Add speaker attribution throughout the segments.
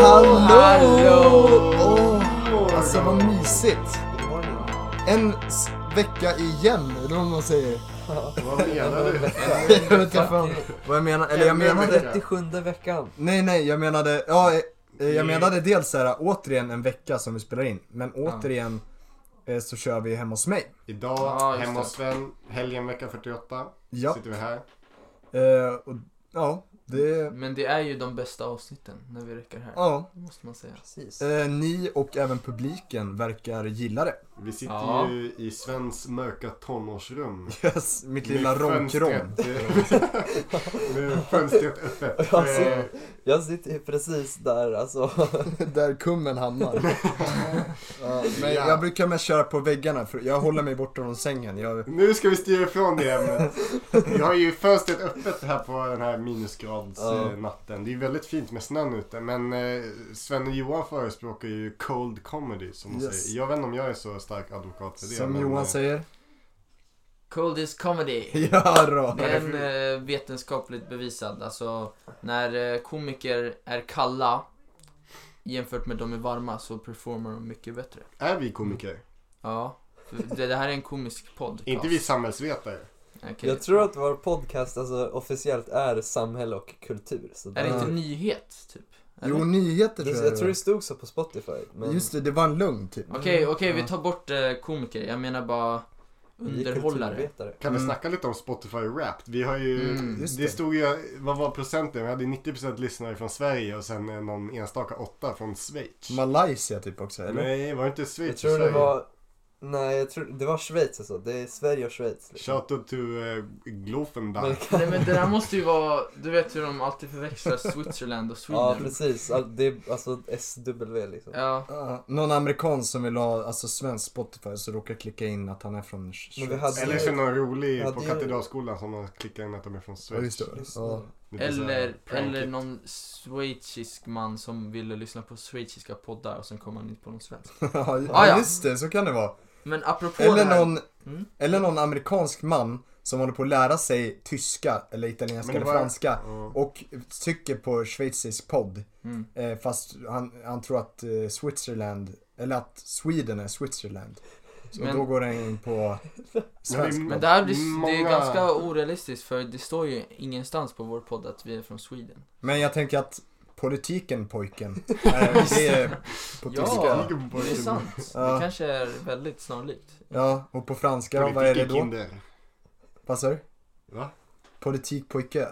Speaker 1: Hallå!
Speaker 2: hallå!
Speaker 1: Åh, alltså vad mysigt. En s- vecka igen, eller vad man säger.
Speaker 3: Vad menar du?
Speaker 1: Jag vet inte fan vad jag menar. Eller jag menade...
Speaker 2: 37 veckan.
Speaker 1: Nej, nej, jag menade... Ja, eh,
Speaker 3: Mm.
Speaker 1: jag menade dels så här, återigen en vecka som vi spelar in. Men återigen eh, så kör vi hemma hos mig.
Speaker 3: Idag,
Speaker 2: Ja, just det.
Speaker 3: hemma hos Sven, helgen vecka 48.
Speaker 1: Ja.
Speaker 3: Sitter vi här.
Speaker 1: Eh, och, ja, det...
Speaker 2: Men det är ju de bästa avsnitten när vi räcker här.
Speaker 1: Ja.
Speaker 2: Det måste man säga. Precis.
Speaker 1: Eh, ni och även publiken verkar gilla det.
Speaker 3: Vi sitter
Speaker 2: Ja.
Speaker 3: ju i Svens mörka tonårsrum.
Speaker 1: Yes, mitt lilla
Speaker 3: Med
Speaker 1: ronkrom.
Speaker 3: fönstret- Med fönstret öppet.
Speaker 4: Jag ser-
Speaker 3: Eh,
Speaker 4: Jag sitter ju precis där alltså.
Speaker 1: Där kummen hamnar. ja, men
Speaker 3: Ja.
Speaker 1: Jag brukar mest köra på väggarna för jag håller mig borta från sängen. Jag,
Speaker 3: Nu ska vi styra ifrån det ämnet. Vi har ju fönstret öppet här på den här
Speaker 4: Ja.
Speaker 3: minusgradsnatten. Det är ju väldigt fint med snön ute. Men eh, Sven och Johan förespråkar ju cold comedy som de
Speaker 1: Yes.
Speaker 3: säger. Jag vet inte om jag är så stark advokat för det.
Speaker 1: som
Speaker 3: men,
Speaker 1: Johan
Speaker 3: eh,
Speaker 1: säger.
Speaker 2: Coldies comedy.
Speaker 1: Ja då.
Speaker 2: Det är en eh, vetenskapligt bevisad. Alltså när eh, komiker är kalla jämfört med de är varma så performar de mycket bättre.
Speaker 3: Är vi komiker?
Speaker 2: Ja. för Det, det här är en komisk podcast.
Speaker 3: Inte vi samhällsvetare.
Speaker 2: Okej.
Speaker 4: Jag tror att vår podcast alltså officiellt är samhälle och kultur. Så
Speaker 2: Är det
Speaker 1: Ja.
Speaker 2: inte nyhet, typ? Eller?
Speaker 1: Jo, nyheter tror jag,
Speaker 4: Jag
Speaker 1: det
Speaker 4: tror
Speaker 1: var.
Speaker 4: det stod så på Spotify. Men...
Speaker 1: Just det, det var en lugn typ.
Speaker 2: Okej, okej,
Speaker 1: Ja.
Speaker 2: vi tar bort eh, komiker. Jag menar bara
Speaker 4: Vi är
Speaker 2: underhållare.
Speaker 4: kulturarbetare.
Speaker 3: Kan vi
Speaker 1: Mm.
Speaker 3: snacka lite om Spotify Wrapped? Vi har ju,
Speaker 2: Mm,
Speaker 1: just
Speaker 3: det
Speaker 1: det.
Speaker 3: stod ju, vad var procenten? Vi hade 90% lyssnare från Sverige och sen eh, någon enstaka åtta från Schweiz.
Speaker 1: Malaysia typ också, eller?
Speaker 3: Nej, var det inte Schweiz?
Speaker 4: Jag tror det
Speaker 3: Sverige?
Speaker 4: var, nej jag tror, det var Schweiz alltså. Det är Sverige och Schweiz. Liksom.
Speaker 3: Shout out to uh, Glofenberg.
Speaker 4: Men,
Speaker 2: Nej men det där måste ju vara, du vet hur de alltid förväxlar Switzerland och Sweden.
Speaker 4: ja precis, All- det är alltså SW liksom.
Speaker 2: Ja,
Speaker 1: Ja, någon amerikan som vill ha alltså, svensk Spotify så råkar klicka in att han är från Sch-
Speaker 4: Men vi hade-
Speaker 1: Schweiz.
Speaker 3: Eller så är det någon rolig
Speaker 4: Ja,
Speaker 3: på
Speaker 4: det-
Speaker 3: Katedralskolan som har klickat in att de är från
Speaker 1: Ja, just
Speaker 3: Schweiz.
Speaker 1: det.
Speaker 4: Just
Speaker 1: Ja.
Speaker 4: nu.
Speaker 3: Lite så här
Speaker 2: eller,
Speaker 3: prankigt.
Speaker 2: eller någon schweizisk man som ville lyssna på schweiziska poddar och sen kom han inte på någon svensk.
Speaker 1: ja,
Speaker 2: Ah, ja.
Speaker 1: just det, så kan det vara.
Speaker 2: Men apropå det
Speaker 1: Eller
Speaker 2: här,
Speaker 1: någon,
Speaker 2: Mm.
Speaker 1: eller någon amerikansk man som håller på att lära sig tyska eller italienska
Speaker 3: Men det
Speaker 1: eller
Speaker 3: var-
Speaker 1: franska.
Speaker 3: Ja.
Speaker 1: Och trycker på schweizisk podd.
Speaker 2: Mm.
Speaker 1: Eh, fast han, han tror att eh, Switzerland, eller att Sweden är Switzerland. Så
Speaker 2: Men-
Speaker 1: då går han in på svensk
Speaker 3: Men
Speaker 2: Men
Speaker 1: podd.
Speaker 2: det här blir, det är
Speaker 3: Många-
Speaker 2: ganska orealistiskt för det står ju ingenstans på vår podd att vi är från Sweden.
Speaker 1: Men jag tänker att politiken pojken, eh, det är på
Speaker 2: Ja.
Speaker 1: tyska.
Speaker 3: Vilken
Speaker 2: Det är
Speaker 3: pojke.
Speaker 2: sant.
Speaker 1: Ja.
Speaker 2: Det kanske är väldigt snarlikt.
Speaker 1: Ja, och på franska, vad är det
Speaker 3: Politiken
Speaker 1: då?
Speaker 3: kinder.
Speaker 1: Vad sa du?
Speaker 3: Va?
Speaker 1: Politik pojke.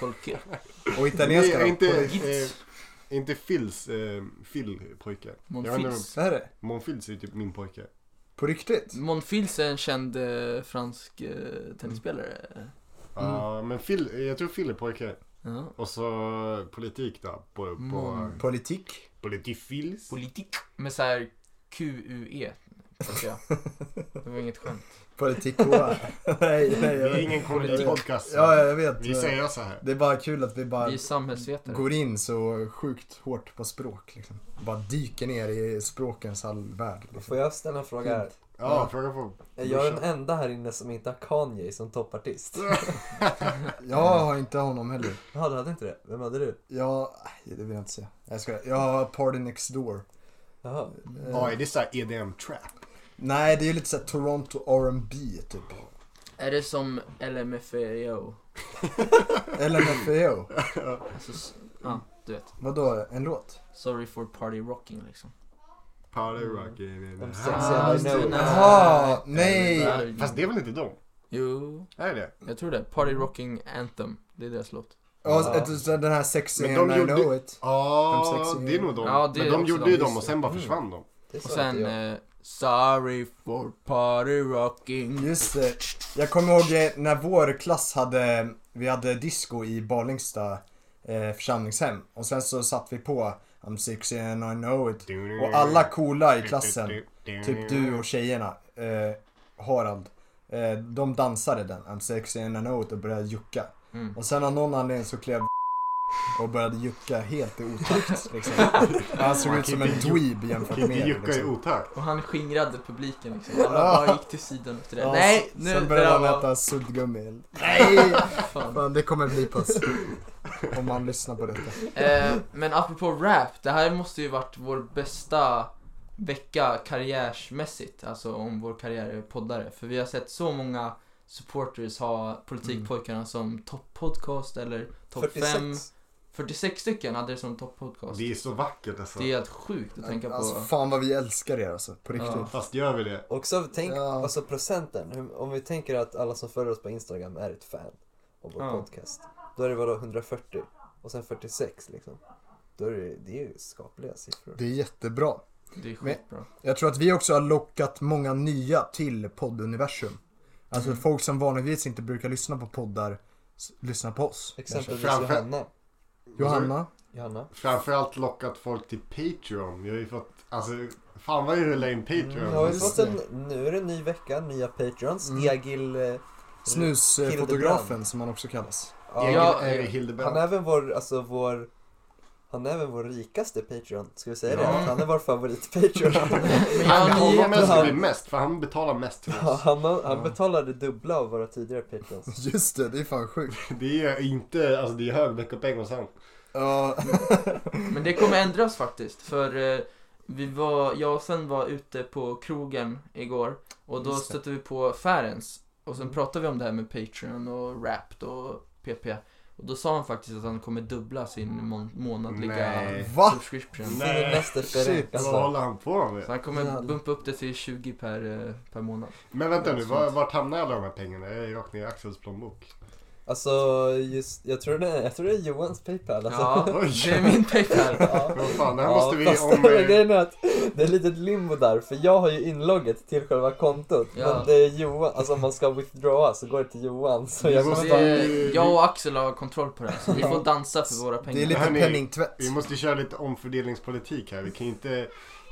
Speaker 2: Polka.
Speaker 1: Och
Speaker 3: Det
Speaker 1: italienska
Speaker 3: är
Speaker 1: då?
Speaker 3: inte, eh,
Speaker 2: Gits.
Speaker 3: inte Phils, eh, Phil pojke. Jag vet
Speaker 2: Monfils.
Speaker 3: inte
Speaker 1: Vad är det?
Speaker 3: Monfils är ju typ min pojke.
Speaker 1: På riktigt?
Speaker 2: Monfils är en känd eh, fransk eh, tennisspelare.
Speaker 3: Ja,
Speaker 1: Mm.
Speaker 3: men Phil, jag tror Phil är pojke.
Speaker 2: Ja.
Speaker 3: Och så politik då. På, på
Speaker 2: Mm.
Speaker 1: Politik?
Speaker 3: politikfils.
Speaker 2: Politik. Med så här QUE. tycker jag. Det var inget skämt.
Speaker 1: Politik Nej, nej.
Speaker 3: Det
Speaker 1: Jag
Speaker 3: är
Speaker 1: vet.
Speaker 3: ingen
Speaker 2: Politik.
Speaker 3: komedipodcast.
Speaker 1: Ja, jag vet.
Speaker 3: Vi säger så här.
Speaker 1: Det är bara kul att vi bara
Speaker 2: Vi är samhällsvetare.
Speaker 1: går in så sjukt hårt på språk liksom. Bara dyker ner i språkens all värld. Liksom.
Speaker 4: Får jag ställa en fråga här?
Speaker 3: Ja,
Speaker 1: Ja.
Speaker 3: fråga på.
Speaker 4: Är jag den enda här inne som inte har Kanye som toppartist?
Speaker 1: Jag har inte honom heller.
Speaker 4: Ja du hade inte det? Vem hade du?
Speaker 1: Jag, nej, det vill jag inte säga. Jag ska. Jag har Party Next Door.
Speaker 4: Jaha.
Speaker 1: Eh,
Speaker 3: Ja, är det såhär EDM trap?
Speaker 1: Nej, det är ju lite såhär Toronto R&B typ.
Speaker 2: Är det som LMFAO?
Speaker 1: LMFAO.
Speaker 2: Alltså, s- ja, du vet.
Speaker 1: Vadå, en låt?
Speaker 2: Sorry for party rocking liksom.
Speaker 3: Party
Speaker 1: Mm.
Speaker 3: rock in
Speaker 4: De
Speaker 3: the
Speaker 4: sexiga
Speaker 2: Ah,
Speaker 4: I
Speaker 2: just
Speaker 4: know.
Speaker 2: det.
Speaker 1: Jaha, nej!
Speaker 3: house. Fast det är väl inte de?
Speaker 2: Jo,
Speaker 3: Är det
Speaker 2: jag tror det. Party rocking anthem. Det är deras låt.
Speaker 1: Ja, ett- så den här sexy
Speaker 3: Men de
Speaker 1: and I
Speaker 3: gjorde-
Speaker 1: know it.
Speaker 3: Ja,
Speaker 1: De sexiga.
Speaker 3: det är nog de.
Speaker 2: Ja, det
Speaker 3: men
Speaker 2: är
Speaker 3: de
Speaker 2: också
Speaker 3: gjorde
Speaker 2: de,
Speaker 3: ju
Speaker 2: just
Speaker 3: dem och sen bara
Speaker 4: Mm.
Speaker 3: försvann de.
Speaker 4: Det sa
Speaker 2: Och sen
Speaker 4: inte jag.
Speaker 2: eh, Sorry for party rocking.
Speaker 1: Just det. Jag kommer ihåg eh, när vår klass hade, vi hade disco i Barlingsta eh, församlingshem. Och sen så satt vi på I'm sexy and I know it. Och alla coola i
Speaker 3: Mm.
Speaker 1: klassen, typ du och tjejerna, eh, Harald, eh, de dansade den I'm sexy and I know it och började jucka.
Speaker 2: Mm.
Speaker 1: Och sen av någon anledning så klev och började jucka helt i otakt liksom. Han såg
Speaker 3: Man
Speaker 1: ut
Speaker 3: kan
Speaker 1: som
Speaker 3: inte
Speaker 1: en
Speaker 3: ju-
Speaker 1: dweeb jämfört med
Speaker 3: Kan inte
Speaker 1: er,
Speaker 3: jucka i
Speaker 1: liksom.
Speaker 3: otakt.
Speaker 2: Och han skingrade publiken liksom. Alla bara gick till sidan efter det.
Speaker 1: Ja,
Speaker 2: Nej,
Speaker 1: sen-
Speaker 2: nu
Speaker 1: Sen
Speaker 2: det där
Speaker 1: började han
Speaker 2: var...
Speaker 1: äta suddgummi. Nej!
Speaker 2: Fan.
Speaker 1: Fan, det kommer bli puss. om man lyssnar på detta.
Speaker 2: Eh, men apropå rap, det här måste ju varit vår bästa vecka karriärsmässigt. Alltså om vår karriär är poddare. För vi har sett så många supporters ha politikpojkarna som topppodcast eller topp 5.
Speaker 4: 46.
Speaker 2: 46 stycken hade det som topppodcast.
Speaker 3: Det är så vackert alltså.
Speaker 2: Det är helt sjukt att tänka på.
Speaker 1: Alltså fan vad vi älskar er alltså, på riktigt.
Speaker 2: Ja.
Speaker 3: Fast gör vi det?
Speaker 4: Och så tänk,
Speaker 1: Ja.
Speaker 4: alltså procenten. hur- Om vi tänker att alla som följer oss på Instagram är ett fan av vår
Speaker 2: Ja.
Speaker 4: podcast. Då är det vadå 140 och sen 46 liksom. Då är det, det är ju skapliga siffror.
Speaker 1: Det är jättebra.
Speaker 2: Det är skitbra.
Speaker 1: Jag tror att vi också har lockat många nya till podduniversum. Alltså
Speaker 2: Mm.
Speaker 1: folk som vanligtvis inte brukar lyssna på poddar, s- lyssnar på oss.
Speaker 4: Exempelvis
Speaker 3: Framför-
Speaker 4: Johanna.
Speaker 1: Johanna,
Speaker 4: Johanna.
Speaker 3: Framförallt lockat folk till Patreon. Vi har ju fått, alltså, fan vad vi rullar in Patreon.
Speaker 4: Nu har Mm, vi
Speaker 1: just
Speaker 4: fått en, nu är det en ny vecka, nya Patreons. Egil, eh,
Speaker 2: Alltså,
Speaker 1: snusfotografen som han också kallas.
Speaker 4: ja,
Speaker 2: Ja,
Speaker 3: Egil-
Speaker 2: eh,
Speaker 3: eh, Hildebrand.
Speaker 4: han är även vår, alltså vår, han är även vår rikaste Patreon. Ska vi säga det?
Speaker 3: Ja.
Speaker 4: Han är vår favorit-Patreon.
Speaker 3: Han,
Speaker 2: Ja,
Speaker 3: honom
Speaker 2: jävlar.
Speaker 3: älskar vi mest för han betalar mest till
Speaker 4: Ja,
Speaker 3: oss.
Speaker 4: han, har- han betalade dubbla av våra tidigare Patreons.
Speaker 1: Just det, det är fan sjukt.
Speaker 3: Det är inte, alltså det är hög veckopeng hos han.
Speaker 1: Ja,
Speaker 2: Men det kommer ändras faktiskt. För eh, vi var, jag och Sven var ute på krogen igår och då
Speaker 1: Just det. Mm.
Speaker 2: stötte vi på Färens. Och sen pratade vi om det här med Patreon och Rapt och PP. Och då sa han faktiskt att han kommer dubbla sin mån- månadliga
Speaker 3: Nej.
Speaker 1: Va?
Speaker 2: subscription.
Speaker 3: Nej.
Speaker 4: Fin mäster
Speaker 1: Shit,
Speaker 4: Ferenc
Speaker 3: Vad
Speaker 4: alltså.
Speaker 3: håller han på med?
Speaker 2: Så han kommer
Speaker 1: Jävlar.
Speaker 2: bumpa upp det till 20 per, eh, per månad.
Speaker 3: Men vänta nu,
Speaker 2: Sånt.
Speaker 3: var, vart hamnar alla de här pengarna? Är det rakt ner i Axels plånbok?
Speaker 4: alltså just, jag, tror det är, jag tror det är Johans Paypal alltså.
Speaker 2: Ja,
Speaker 3: Oj.
Speaker 2: det är min Paypal.
Speaker 4: Ja.
Speaker 3: Vad fan, det här
Speaker 4: Ja,
Speaker 3: måste vi,
Speaker 4: fast
Speaker 3: om... eh,
Speaker 4: grejen är att det är lite limbo där, för jag har ju inlogget till själva kontot.
Speaker 2: Ja.
Speaker 4: Men det är Johan, alltså om man ska withdrawa så går det till Johan. Så jag
Speaker 3: måste-
Speaker 4: kommer
Speaker 2: Det
Speaker 4: bara...
Speaker 2: är- Jag och Axel har kontroll på det här, så vi får dansa för våra pengar.
Speaker 1: det är lite
Speaker 3: Hörni,
Speaker 1: penningtvätt.
Speaker 3: Vi måste köra lite omfördelningspolitik här. Vi kan ju inte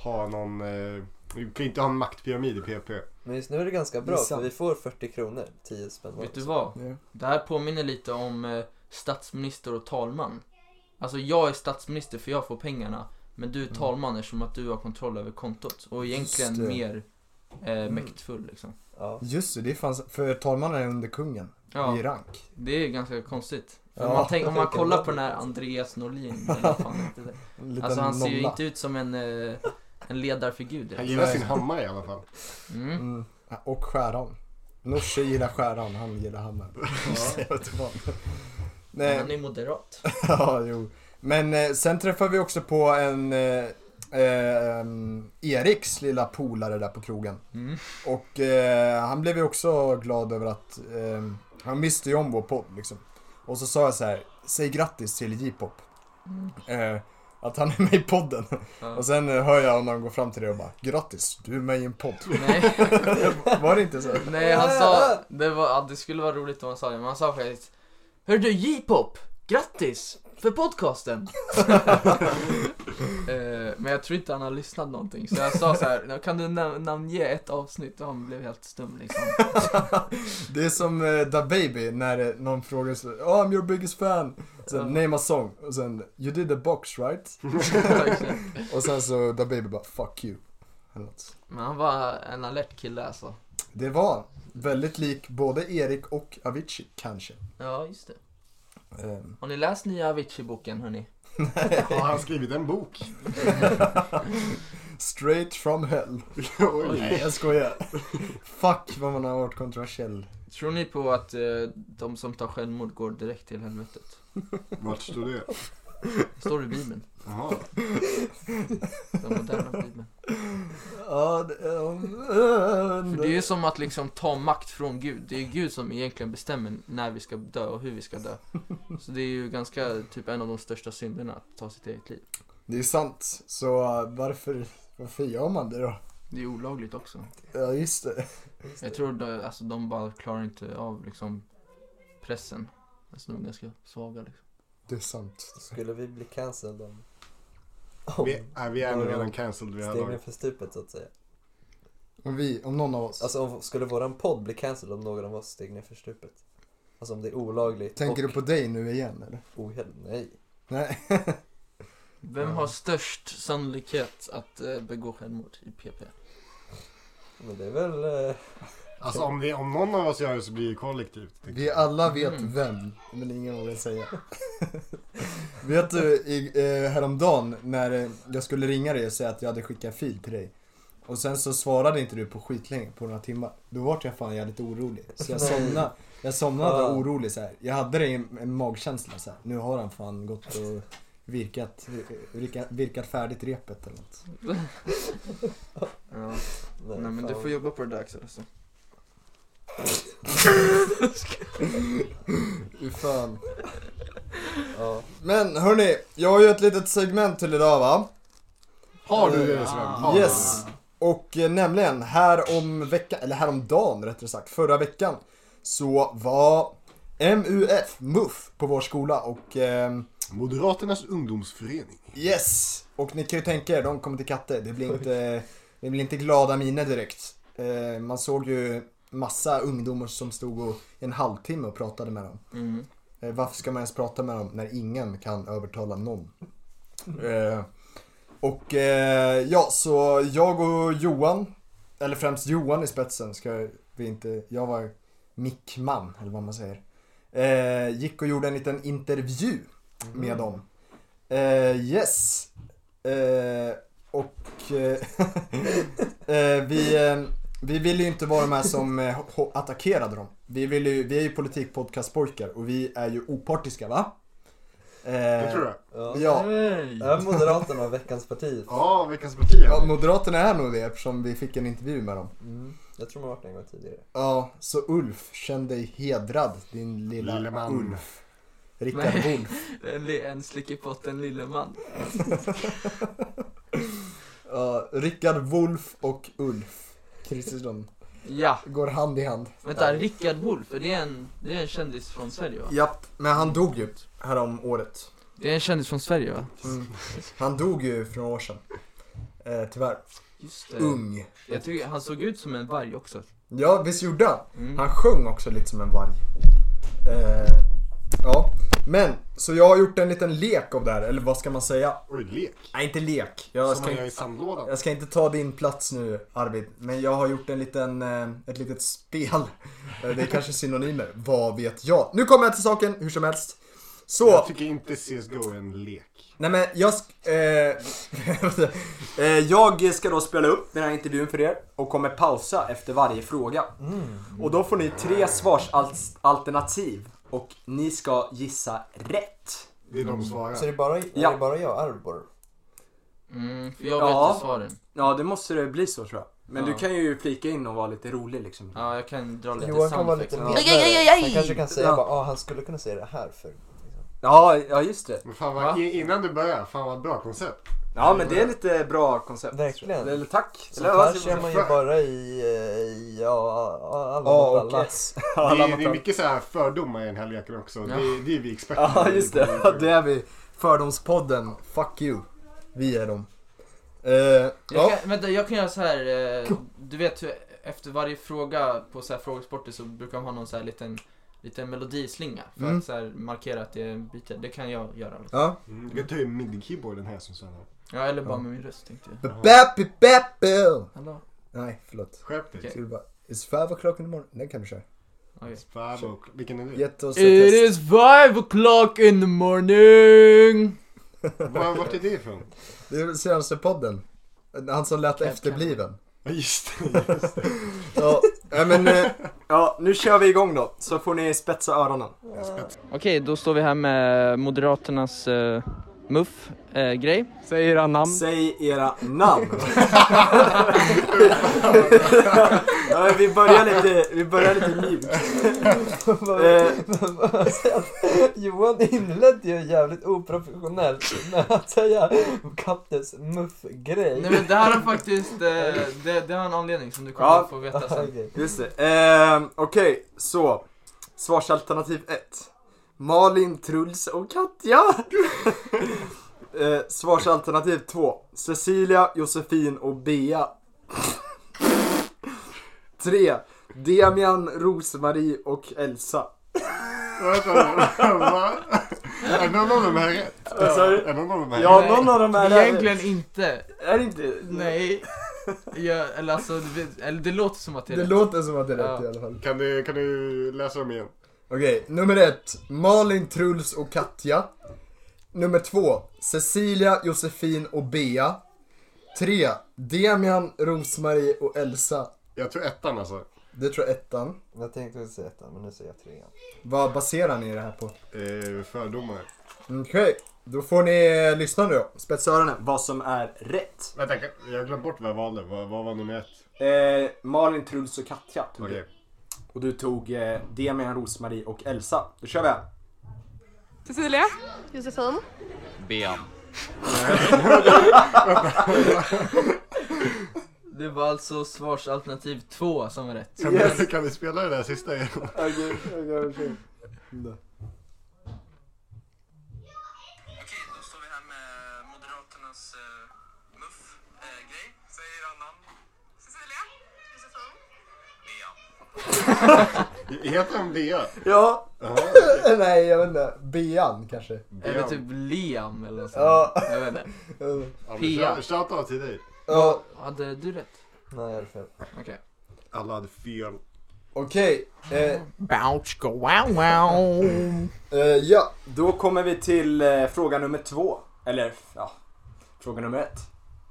Speaker 3: ha någon... Eh, vi kan ju inte ha en maktpyramid i PP.
Speaker 4: Men just nu är det ganska bra,
Speaker 1: Det är sant.
Speaker 4: för vi får 40 kronor, 10 spänn var.
Speaker 2: Vet du vad?
Speaker 1: Ja.
Speaker 2: Det här påminner lite om eh, statsminister och talman. Alltså jag är statsminister för jag får pengarna. Men du är talman eftersom att du har kontroll över kontot. Och egentligen
Speaker 1: Mm. Just det. Mm.
Speaker 2: mer eh, mäktfull liksom.
Speaker 4: Ja.
Speaker 1: Just det, det fanns, för talmannen är under kungen
Speaker 2: Ja,
Speaker 1: i rank.
Speaker 2: det är ganska konstigt. För
Speaker 1: Ja.
Speaker 2: om man tänk, om man kollar på den här Andreas Norlin. eller fan heter det.
Speaker 1: En liten
Speaker 2: Alltså han ser ju
Speaker 1: nolla.
Speaker 2: inte ut som en, eh, en ledarfigur
Speaker 3: Han
Speaker 2: direkt.
Speaker 3: gillar
Speaker 1: Nej.
Speaker 3: sin hammare i alla fall.
Speaker 2: Mm.
Speaker 1: Mm. Och skäran. Nooshi gillar skäran, han gillar hammaren. Jag vet inte vad. Nej.
Speaker 2: Han är moderat.
Speaker 1: Ja, jo. Men eh, sen träffade vi också på en eh, eh, em, Eriks lilla polare där på krogen.
Speaker 2: Mm.
Speaker 1: Och eh, han blev ju också glad över att ehm, han visste ju om vår podd liksom. Och så sa jag så här, säg grattis till J-pop. Eh, att han är med i podden.
Speaker 2: Ja.
Speaker 1: Och sen eh, hör jag honom gå fram till dig och bara, grattis, du är med i en podd.
Speaker 2: Nej.
Speaker 1: Var det inte så?
Speaker 2: Nej han sa, det, var, ja, det skulle vara roligt om han sa det, men han sa faktiskt Hör du J-pop, grattis för podcasten! Eh, men jag tror inte han har lyssnat någonting, så jag sa så här, kan du nam- namnge ett avsnitt? Och han blev helt stum liksom.
Speaker 1: Det är som eh, Da Baby när eh, någon frågar så, oh, I'm your biggest fan. Sen,
Speaker 2: Ja.
Speaker 1: name a song. Och sen, you did the box right? Och sen så Da Baby bara 'fuck you' eller något.
Speaker 2: men han var en alert kille alltså.
Speaker 1: Det var väldigt lik både Erik och Avicii kanske.
Speaker 2: Ja, just det.
Speaker 1: Ehm,
Speaker 2: Har ni läst nya Avicii-boken hörni?
Speaker 3: Har han skrivit en bok?
Speaker 1: straight from hell. Nej
Speaker 3: Oj.
Speaker 1: jag skojar. Fuck vad man har varit kontroversiell.
Speaker 2: Tror ni på att eh, de som tar självmord går direkt till helvetet?
Speaker 3: Vart står det?
Speaker 2: Står det i Bibeln?
Speaker 3: Jaha.
Speaker 2: Den moderna Bibeln.
Speaker 1: Ja, det, ja,
Speaker 2: För det är ju som att liksom ta makt från Gud. Det är ju Gud som egentligen bestämmer när vi ska dö och hur vi ska dö. Så det är ju ganska, typ en av de största synderna att ta sitt eget liv.
Speaker 1: det är sant. Så eh, varför, varför gör man det då?
Speaker 2: Det är olagligt också.
Speaker 1: Ja just det.
Speaker 2: Jag tror de, alltså, de bara klarar inte av liksom pressen. Alltså de är ganska svaga liksom.
Speaker 1: Det är sant.
Speaker 4: Skulle vi bli cancelled om... om
Speaker 3: Vi, nej, vi är nog redan cancelled vid det här
Speaker 4: stegen
Speaker 3: laget.
Speaker 4: för stupet så att säga.
Speaker 1: Om vi, om någon av oss.
Speaker 4: Alltså om, skulle våran podd bli cancelled om någon av oss steg ner för stupet? Alltså om det är olagligt
Speaker 1: Tänker
Speaker 4: och
Speaker 1: du på dig nu igen eller?
Speaker 4: ohel... Nej.
Speaker 1: Nej.
Speaker 2: Vem har störst sannolikhet att eh, begå självmord i PP?
Speaker 4: Men det är väl... eh,
Speaker 3: Alltså om, vi, om någon av oss gör det så blir det kollektivt.
Speaker 1: Vi alla vet
Speaker 2: Mm.
Speaker 1: vem, men ingen vågar säga. vet du, i, eh, häromdagen när eh, jag skulle ringa dig och säga att jag hade skickat fil till dig. Och sen så svarade inte du på skitlänge, på några timmar. Då vart jag fan jävligt orolig. Så jag
Speaker 4: Nej.
Speaker 1: somnade, jag somnade
Speaker 4: Ja.
Speaker 1: orolig så här. Jag hade det i en en magkänsla så här. nu har han fan gått och virkat, virkat, virkat färdigt repet eller något.
Speaker 2: Ja.
Speaker 4: Nej,
Speaker 2: Nej men du
Speaker 4: fan.
Speaker 2: får jobba på det där Axel alltså.
Speaker 1: Fy fan.
Speaker 4: Ja.
Speaker 1: Men hörni, jag har ju ett litet segment till idag va?
Speaker 3: Har du
Speaker 1: Eh,
Speaker 3: det Sven? Har du
Speaker 1: yes. Och eh, nämligen här om veckan, eller häromdagen rättare sagt, förra veckan så var MUF, MUF, på vår skola och ehm,
Speaker 3: det? Moderaternas ungdomsförening.
Speaker 1: yes! Och ni kan ju tänka er, de kommer till katter, det blir inte, det blir inte glada miner direkt. Eh, man såg ju massa ungdomar som stod och, i en halvtimme och pratade med dem.
Speaker 2: Mm.
Speaker 1: Eh, varför ska man ens prata med dem när ingen kan övertala någon? Eh, och eh, ja, så jag och Johan, eller främst Johan i spetsen, ska vi inte, jag var mickman eller vad man säger. Eh, gick och gjorde en liten intervju med dem. Eh, yes. Eh, och eh, eh, vi, eh, vi ville ju inte vara de här som eh, ho- attackerade dem. Vi, ville ju, vi är ju politikpodcastpojkar och vi är ju opartiska va? Eh,
Speaker 3: Det tror jag.
Speaker 4: Ja.
Speaker 1: Ja.
Speaker 4: Är Moderaterna veckans parti?
Speaker 3: Ja, veckans parti.
Speaker 1: Ja, Moderaterna är nog det eftersom vi fick en intervju med dem.
Speaker 4: Mm. Jag tror man har varit det en gång tidigare.
Speaker 1: Ja, så Ulf, känn dig hedrad din lilla
Speaker 3: Lille man.
Speaker 1: Ulf. Rickard
Speaker 2: Nej.
Speaker 1: Wolff.
Speaker 2: En, li- en slickepotten lille man.
Speaker 1: Ja, Rickard Wolff och Ulf Kristersson
Speaker 2: Ja,
Speaker 1: går hand i hand.
Speaker 2: vänta Rickard Wolff, det är en, det är en kändis från Sverige va?
Speaker 1: Japp, men han dog ju härom året.
Speaker 2: Det är en kändis från Sverige va?
Speaker 1: Mm. Han dog ju för några år sedan. Eh, tyvärr.
Speaker 2: Just det.
Speaker 4: Um.
Speaker 1: Ung.
Speaker 2: Jag tycker han såg ut som en varg också.
Speaker 1: Ja, visst gjorde han?
Speaker 2: Mm.
Speaker 1: Han sjöng också lite som en varg. Eh, ja, men så jag har gjort en liten lek av det här, eller vad ska man säga?
Speaker 3: Oj, lek.
Speaker 1: Nej, inte lek. Jag
Speaker 3: Som
Speaker 1: ska,
Speaker 3: man gör i
Speaker 1: inte,
Speaker 3: sandlådan.
Speaker 1: jag ska inte ta din plats nu, Arvid. Men jag har gjort en liten, eh, ett litet spel. Eh, Det är kanske synonymer. Vad vet jag? Nu kommer jag till saken, hur som helst. Så,
Speaker 3: Jag tycker inte CSGO är en lek.
Speaker 1: nej men jag sk- eh, eh, Jag ska då spela upp den här intervjun för er och kommer pausa efter varje fråga.
Speaker 3: Mm.
Speaker 1: Och då får ni tre svarsalternativ och ni ska gissa rätt.
Speaker 3: Det är de som
Speaker 4: Så är
Speaker 3: svarar.
Speaker 4: det bara,
Speaker 1: Ja.
Speaker 4: är det bara jag, Arbor?
Speaker 2: Mm, för jag vet
Speaker 1: Ja.
Speaker 2: inte svaren.
Speaker 1: Ja, det måste det bli så tror jag. Men
Speaker 2: Ja.
Speaker 1: du kan ju flika in och vara lite rolig liksom.
Speaker 2: Ja, jag kan dra lite
Speaker 4: Johan kan vara lite
Speaker 2: soundeffects.
Speaker 4: medlare. Han kanske kan säga
Speaker 1: Ja.
Speaker 4: bara, ah, han skulle kunna säga det här för.
Speaker 1: Ja, ja just det.
Speaker 3: Men fan
Speaker 2: Va?
Speaker 3: vad, i- innan du börjar, fan vad bra koncept.
Speaker 1: Ja men det är lite bra koncept.
Speaker 4: Verkligen.
Speaker 1: Eller tack.
Speaker 4: Så
Speaker 1: Eller
Speaker 4: här
Speaker 1: vad
Speaker 4: ser
Speaker 1: säger man?
Speaker 4: man ju bara i, eh, i ja, alla
Speaker 1: Ja,
Speaker 4: mot
Speaker 1: och
Speaker 4: alla.
Speaker 1: yes.
Speaker 3: Det
Speaker 1: Alla
Speaker 3: är,
Speaker 1: mot
Speaker 3: det är
Speaker 1: alla.
Speaker 3: mycket så här fördomar i den här leken också.
Speaker 2: Ja.
Speaker 3: Det, är, det är vi experter
Speaker 1: Ja
Speaker 3: på.
Speaker 1: just det. Det är vi. Fördomspodden. Fuck you. Vi är dem. Eh,
Speaker 2: Jag
Speaker 1: ja.
Speaker 2: kan, vänta, jag kan göra så här. eh, Du vet hur efter varje fråga på så här frågesporter så brukar de ha någon så här liten, liten melodislinga för
Speaker 1: Mm.
Speaker 2: att så här markera att det är en bit. Det kan jag göra.
Speaker 1: Ja.
Speaker 3: Mm, Du kan ta ju midi-keyboarden här som Sven har.
Speaker 2: Ja, eller bara
Speaker 1: Ja.
Speaker 2: med min röst tänkte jag.
Speaker 1: Bappi bappi.
Speaker 2: Hallå?
Speaker 1: Nej, förlåt.
Speaker 3: Skärp dig.
Speaker 1: Ska du bara... It's five o'clock in the morning. Den kan du köra.
Speaker 2: Okej.
Speaker 3: Fan, och- Vilken är det?
Speaker 1: Gett oss ett
Speaker 2: It
Speaker 1: test.
Speaker 2: is five o'clock in the morning!
Speaker 3: Var- Vart är det ifrån?
Speaker 1: Det är senaste podden. Han som lät efterbliven.
Speaker 3: Ja just det. Just det.
Speaker 1: Ja, nej, men... eh, Ja, nu kör vi igång då. Så får ni spetsa öronen.
Speaker 2: Okej, då står vi här med Moderaternas
Speaker 5: eh,
Speaker 2: MUF-grej.
Speaker 6: Säg era namn.
Speaker 1: Säg era namn. ja, men vi börjar lite, vi börjar lite mjukt. Eh,
Speaker 4: Johan inledde ju jävligt oprofessionellt med att säga Kaptens muff-grej.
Speaker 2: Nej men det här har faktiskt, eh, det, det har en anledning som du kommer
Speaker 1: Ja.
Speaker 2: att få veta sen.
Speaker 4: Okej.
Speaker 1: just det. Eh, Okej, så. Svarsalternativ 1. Malin, Truls och Katja. eh, svarsalternativ 2. Cecilia, Josefin och Bea. 3. Demian, Rosmarie och Elsa.
Speaker 3: Vänta nu. Va? Är någon av dem här rätt?
Speaker 1: Vad sa du?
Speaker 3: Är Eh, någon av dem här
Speaker 1: Ja,
Speaker 2: Nej.
Speaker 1: någon av dem är
Speaker 2: Egentligen inte.
Speaker 1: Är det inte?
Speaker 2: Nej. Ja, eller alltså, det- eller det låter som att det är
Speaker 1: Det
Speaker 2: rätt.
Speaker 1: låter som att det är rätt
Speaker 2: Ja.
Speaker 1: i alla fall.
Speaker 3: Kan du, kan du läsa dem igen?
Speaker 1: Okej, nummer ett. Malin, Truls och Katja. Nummer två. Cecilia, Josefin och Bea. Tre. Demian, Rosmarie och Elsa.
Speaker 3: Jag tror ettan alltså.
Speaker 1: Det tror jag ettan.
Speaker 4: Jag tänkte säga ettan, men nu säger jag trean.
Speaker 1: Vad baserar ni det här på?
Speaker 3: Eh, fördomar.
Speaker 1: Okej, då får ni eh, lyssna nu då. Spetsa öronen. Vad som är rätt.
Speaker 3: Vänta, kan- jag har glömt bort vad jag valde. Vad, vad var nummer ett?
Speaker 1: Eh, Malin, Truls och Katja tog
Speaker 3: Okej.
Speaker 1: du. Och du tog eh, Demian, Rosmarie och Elsa. Då kör vi. här.
Speaker 6: Cecilia? Josefin?
Speaker 7: Ben.
Speaker 2: Det var alltså svarsalternativ två som var rätt.
Speaker 3: Kan,
Speaker 1: Yes.
Speaker 3: du, kan du spela det där sista igen?
Speaker 1: Okej, okej, okej.
Speaker 8: Okej, då står vi här med Moderaternas eh, MUF-grej. Säg era namn. Cecilia. Josefin. Bea.
Speaker 3: Heter han Bea?
Speaker 1: Ja,
Speaker 3: Jaha.
Speaker 1: nej jag vet inte. Bean kanske.
Speaker 2: Eller typ Liam eller så.
Speaker 1: Ja.
Speaker 2: Jag vet inte.
Speaker 1: Eh,
Speaker 3: Ja, men
Speaker 2: Pia.
Speaker 3: shout- Shoutout till dig.
Speaker 1: ja.
Speaker 2: Hade du rätt?
Speaker 4: Nej, jag hade fel.
Speaker 2: Okej.
Speaker 3: Alla hade fel.
Speaker 1: Okej. Eh,
Speaker 7: Bounce go wow wow.
Speaker 1: eh, ja, då kommer vi till eh, fråga nummer två. Eller ja, fråga nummer ett.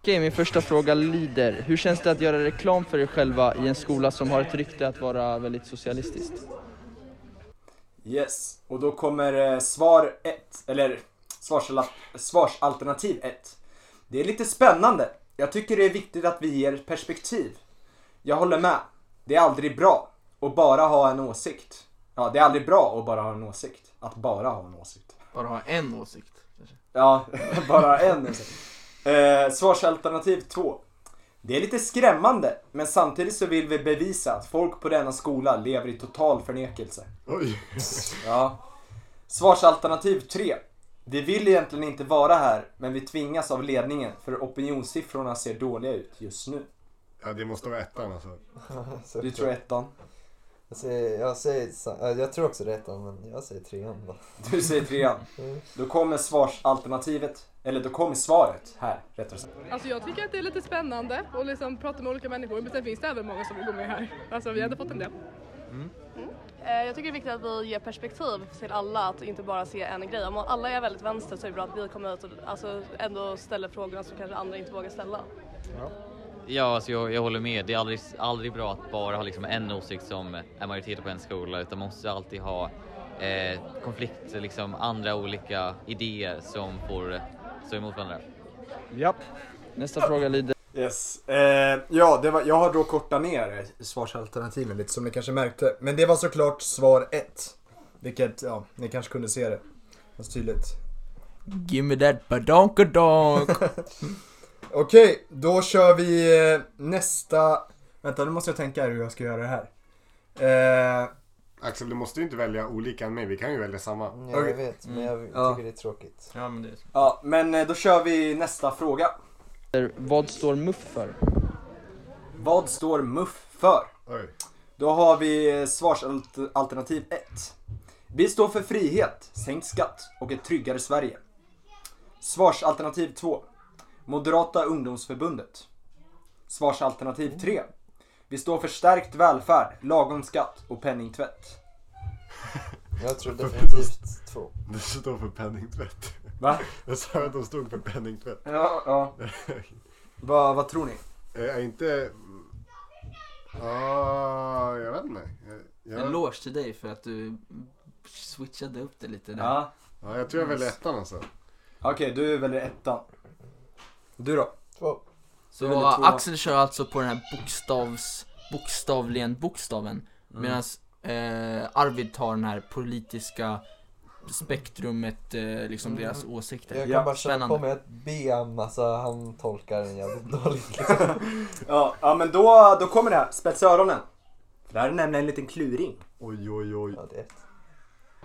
Speaker 5: Okej, min första fråga lyder. Hur känns det att göra reklam för er själva i en skola som har ett rykte att vara väldigt socialistiskt?
Speaker 1: Yes, och då kommer eh, svar 1, eller svarsala- svarsalternativ 1. Det är lite spännande. Jag tycker det är viktigt att vi ger perspektiv. Jag håller med. Det är aldrig bra att bara ha en åsikt. Ja, det är aldrig bra att bara ha en åsikt. Att bara ha en åsikt.
Speaker 2: Bara ha en åsikt. kanske.
Speaker 1: Ja, bara en. Eh, svarsalternativ 2. Det är lite skrämmande, men samtidigt så vill vi bevisa att folk på denna skola lever i total förnekelse.
Speaker 3: Oj.
Speaker 1: Ja. Svarsalternativ 3. Vi vill egentligen inte vara här, men vi tvingas av ledningen för opinionssiffrorna ser dåliga ut just nu.
Speaker 3: Ja, det måste vara ettan alltså.
Speaker 4: Så
Speaker 1: Du tror ettan.
Speaker 4: jag, säger, jag, säger, sa- äh, jag tror också det är ettan, men jag säger trean då.
Speaker 1: Du säger trean. Då kommer svarsalternativet, eller då kommer svaret här, rättare sagt.
Speaker 6: Alltså jag tycker att det är lite spännande att liksom prata med olika människor men sen finns det även många som vill gå med här. Alltså vi hade fått en del.
Speaker 9: Eh, Jag tycker det är viktigt att vi ger perspektiv till alla, att inte bara se en grej. Om alla är väldigt vänster så är det bra att vi kommer ut och alltså, ändå ställer frågorna som kanske andra inte vågar ställa.
Speaker 7: Ja, alltså jag, jag håller med. Det är aldrig, aldrig bra att bara ha liksom en åsikt som är majoritet på en skola utan man måste alltid ha eh, konflikt, liksom andra olika idéer som får stå emot varandra.
Speaker 5: Japp. Nästa fråga lyder.
Speaker 1: Yes. Eh, ja, det var, jag har då kortat ner svarsalternativen lite som ni kanske märkte. Men det var såklart svar 1. Vilket, ja, ni kanske kunde se det. Fast tydligt.
Speaker 2: Give me that badonkadonk.
Speaker 1: Okej, då kör vi eh, nästa... Vänta, nu måste jag tänka här hur jag ska göra det här. Eh,
Speaker 3: Axel, du måste ju inte välja olika än mig. Vi kan ju välja samma.
Speaker 4: Ja,
Speaker 1: Mm, Okej.
Speaker 4: jag vet, men jag
Speaker 1: Ja.
Speaker 4: tycker det är tråkigt.
Speaker 2: ja men det är
Speaker 1: ja, men eh, då kör vi nästa fråga.
Speaker 5: Vad står MUF för?
Speaker 1: Vad står MUF för?
Speaker 3: Oj.
Speaker 1: Då har vi eh, svarsalternativ 1. Vi står för frihet, sänkt skatt och ett tryggare Sverige. Svarsalternativ 2. Moderata ungdomsförbundet. Svarsalternativ 3. Vi står för stärkt välfärd, lagom skatt och penningtvätt.
Speaker 4: Jag tror definitivt två.
Speaker 3: Det står för penningtvätt.
Speaker 1: Va?
Speaker 3: Jag sa att de stod för penningtvätt.
Speaker 1: Ja, ja. Vad, vad tror ni?
Speaker 3: Jag är inte... Ah, jag vet inte. Jag,
Speaker 2: En
Speaker 3: jag,
Speaker 2: eloge till dig för att du switchade upp det lite där.
Speaker 1: Ja.
Speaker 3: ja, jag tror jag väljer ettan alltså.
Speaker 1: Okej, du väljer ettan. Du då?
Speaker 4: Två.
Speaker 2: Så
Speaker 1: Det är väl två.
Speaker 2: Axel kör alltså på den här bokstavs, bokstavligen bokstaven. Medan eh, Arvid tar den här politiska spektrumet, eh, liksom
Speaker 4: Mm.
Speaker 2: deras åsikter.
Speaker 4: Jag kan
Speaker 1: Ja,
Speaker 4: bara köra
Speaker 2: spännande.
Speaker 4: på med att Biam, alltså han tolkar den jävligt dåligt liksom.
Speaker 1: Ja, ja men då, då kommer det här. Spetsa öronen. För det här är nämligen en liten kluring.
Speaker 3: Oj, oj, oj.
Speaker 4: Ja, det är ett.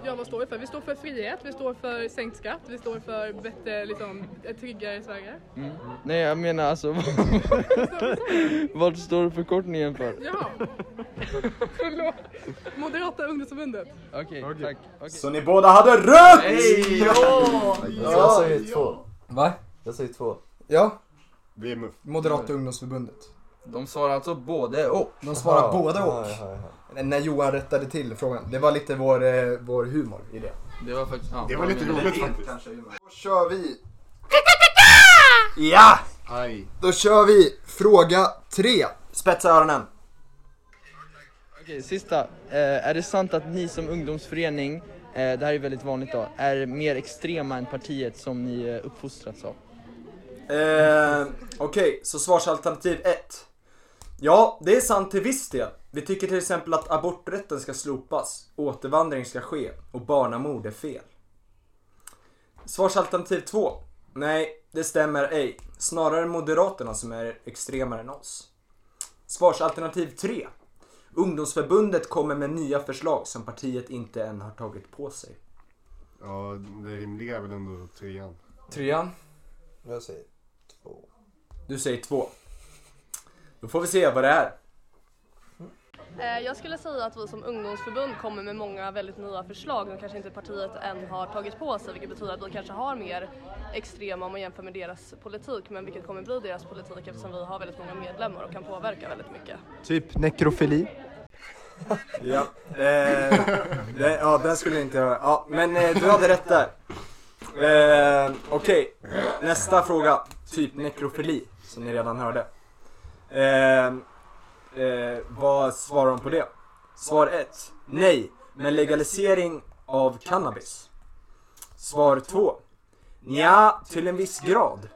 Speaker 6: Ja vad står vi för? Vi står för frihet, vi står för sänkt skatt, vi står för bättre, liksom, ett tryggare Sverige.
Speaker 5: Mm. Nej, jag menar alltså. vad står förkortningen för?
Speaker 6: Jaha. Förlåt. Moderata ungdomsförbundet.
Speaker 5: Okej, tack. Okej.
Speaker 1: Så ni båda hade rätt!
Speaker 2: Hej! Ja!
Speaker 4: Alltså, jag sa ju två.
Speaker 1: Va?
Speaker 4: Jag sa ju två.
Speaker 1: Ja,
Speaker 3: Det är muff.
Speaker 1: Moderata ungdomsförbundet.
Speaker 5: De svarar alltså både och.
Speaker 1: De svarar
Speaker 4: Ja,
Speaker 1: båda
Speaker 4: ja,
Speaker 1: och.
Speaker 4: ja, ja.
Speaker 1: När Johan rättade till frågan. Det var lite vår, eh, vår humor i det.
Speaker 5: Det var faktiskt... Ja,
Speaker 3: Det var lite
Speaker 5: men-
Speaker 3: roligt faktiskt.
Speaker 1: Då kör vi. Ja!
Speaker 3: Aj.
Speaker 1: Då kör vi fråga tre. Spetsa öronen.
Speaker 5: Okej, sista. Eh, är det sant att ni som ungdomsförening, eh, det här är väldigt vanligt då, är mer extrema än partiet som ni eh, uppfostrats av?
Speaker 1: Eh, Okej, så svarsalternativ 1. Ja, det är sant till viss del. Vi tycker till exempel att aborträtten ska slopas, återvandring ska ske och barnamord är fel. Svarsalternativ 2. Nej, det stämmer ej. Snarare Moderaterna som är extremare än oss. Svarsalternativ 3. Ungdomsförbundet kommer med nya förslag som partiet inte än har tagit på sig.
Speaker 3: Ja, det rimliga är väl ändå trean.
Speaker 1: Trean.
Speaker 4: Jag säger två.
Speaker 1: Du säger två. Då får vi se vad det är.
Speaker 9: Eh, Jag skulle säga att vi som ungdomsförbund kommer med många väldigt nya förslag som kanske inte partiet än har tagit på sig vilket betyder att vi kanske har mer extrema om man jämför med deras politik men vilket kommer bli deras politik eftersom vi har väldigt många medlemmar och kan påverka väldigt mycket.
Speaker 10: Typ nekrofili.
Speaker 1: Ja, eh, det, ja den skulle jag inte höra. Ja, men eh, du hade rätt där. Eh, Okej, nästa fråga. Typ nekrofili, som ni redan hörde. Eh, eh, vad svarar de på det? Svar 1. Nej, men legalisering av cannabis. Svar 2. Nja, till en viss grad.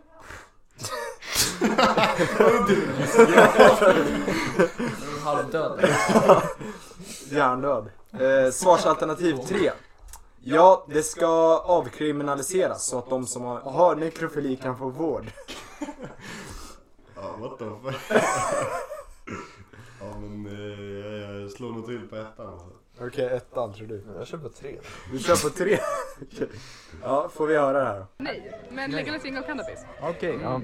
Speaker 2: Halvdöd.
Speaker 1: Hjärndöd. Eh, svarsalternativ 3. Ja, det ska avkriminaliseras så att de som har, har nekrofili kan få vård.
Speaker 3: Ja, what the fuck. ja, men eh, jag- jag slår nog till på ettan alltså.
Speaker 1: Okej, ettan tror du.
Speaker 4: Men Jag kör på tre.
Speaker 1: Du kör på tre. ja, får vi höra det här då.
Speaker 6: Nej, men legalisering av cannabis.
Speaker 5: Okej, ja.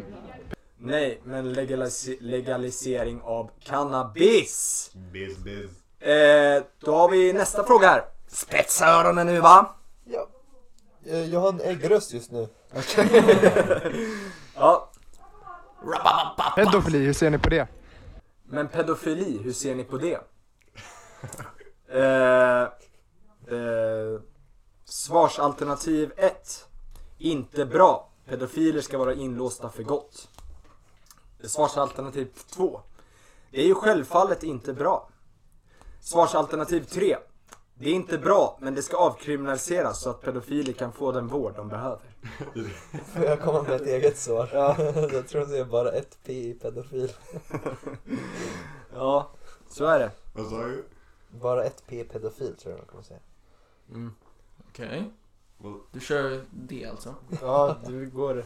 Speaker 1: Nej, men legalisi- legalisering av cannabis.
Speaker 3: Biz, biz.
Speaker 1: Eh, då har vi nästa fråga här. Spetsa öronen nu va?
Speaker 4: Ja. Eh, Jag har en äggröst just nu.
Speaker 1: Ja,
Speaker 10: Pedofili, hur ser ni på det?
Speaker 1: men pedofili, hur ser ni på det? Eh, eh, svarsalternativ 1. Inte bra. Pedofiler ska vara inlåsta för gott. Svarsalternativ 2. Det är ju självfallet inte bra. Svarsalternativ 3. Det är inte bra, men det ska avkriminaliseras så att pedofiler kan få den vård de behöver.
Speaker 4: Får jag komma med ett eget svar? jag tror att det är bara ett P i pedofil.
Speaker 1: Ja, så är det.
Speaker 3: Vad sa du?
Speaker 4: Bara ett P i pedofil tror jag man kommer säga.
Speaker 2: Okej. Du kör det alltså?
Speaker 1: Ja, du går...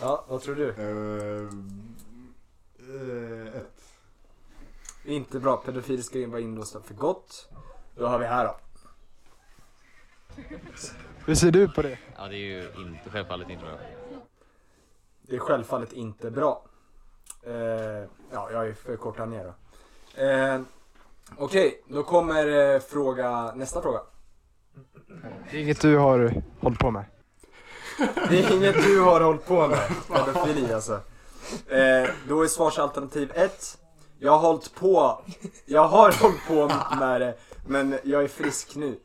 Speaker 1: Ja, vad tror du?
Speaker 3: Eh, eh, ett.
Speaker 1: Inte bra, pedofiler ska vara inlåsta för gott. Då har vi här då.
Speaker 10: Hur ser du på det?
Speaker 7: Ja, det är ju inte, självfallet inte bra.
Speaker 1: Det är självfallet inte bra. Eh, ja, jag är för korta ner då. Eh, Okej, då kommer eh, fråga, nästa fråga.
Speaker 10: Det är inget du har hållit på med.
Speaker 1: Det är inget du har hållit på med, pedofili alltså. Eh, då är svarsalternativ 1. Jag har hållit på, jag har hållit på med det, men jag är frisk nu.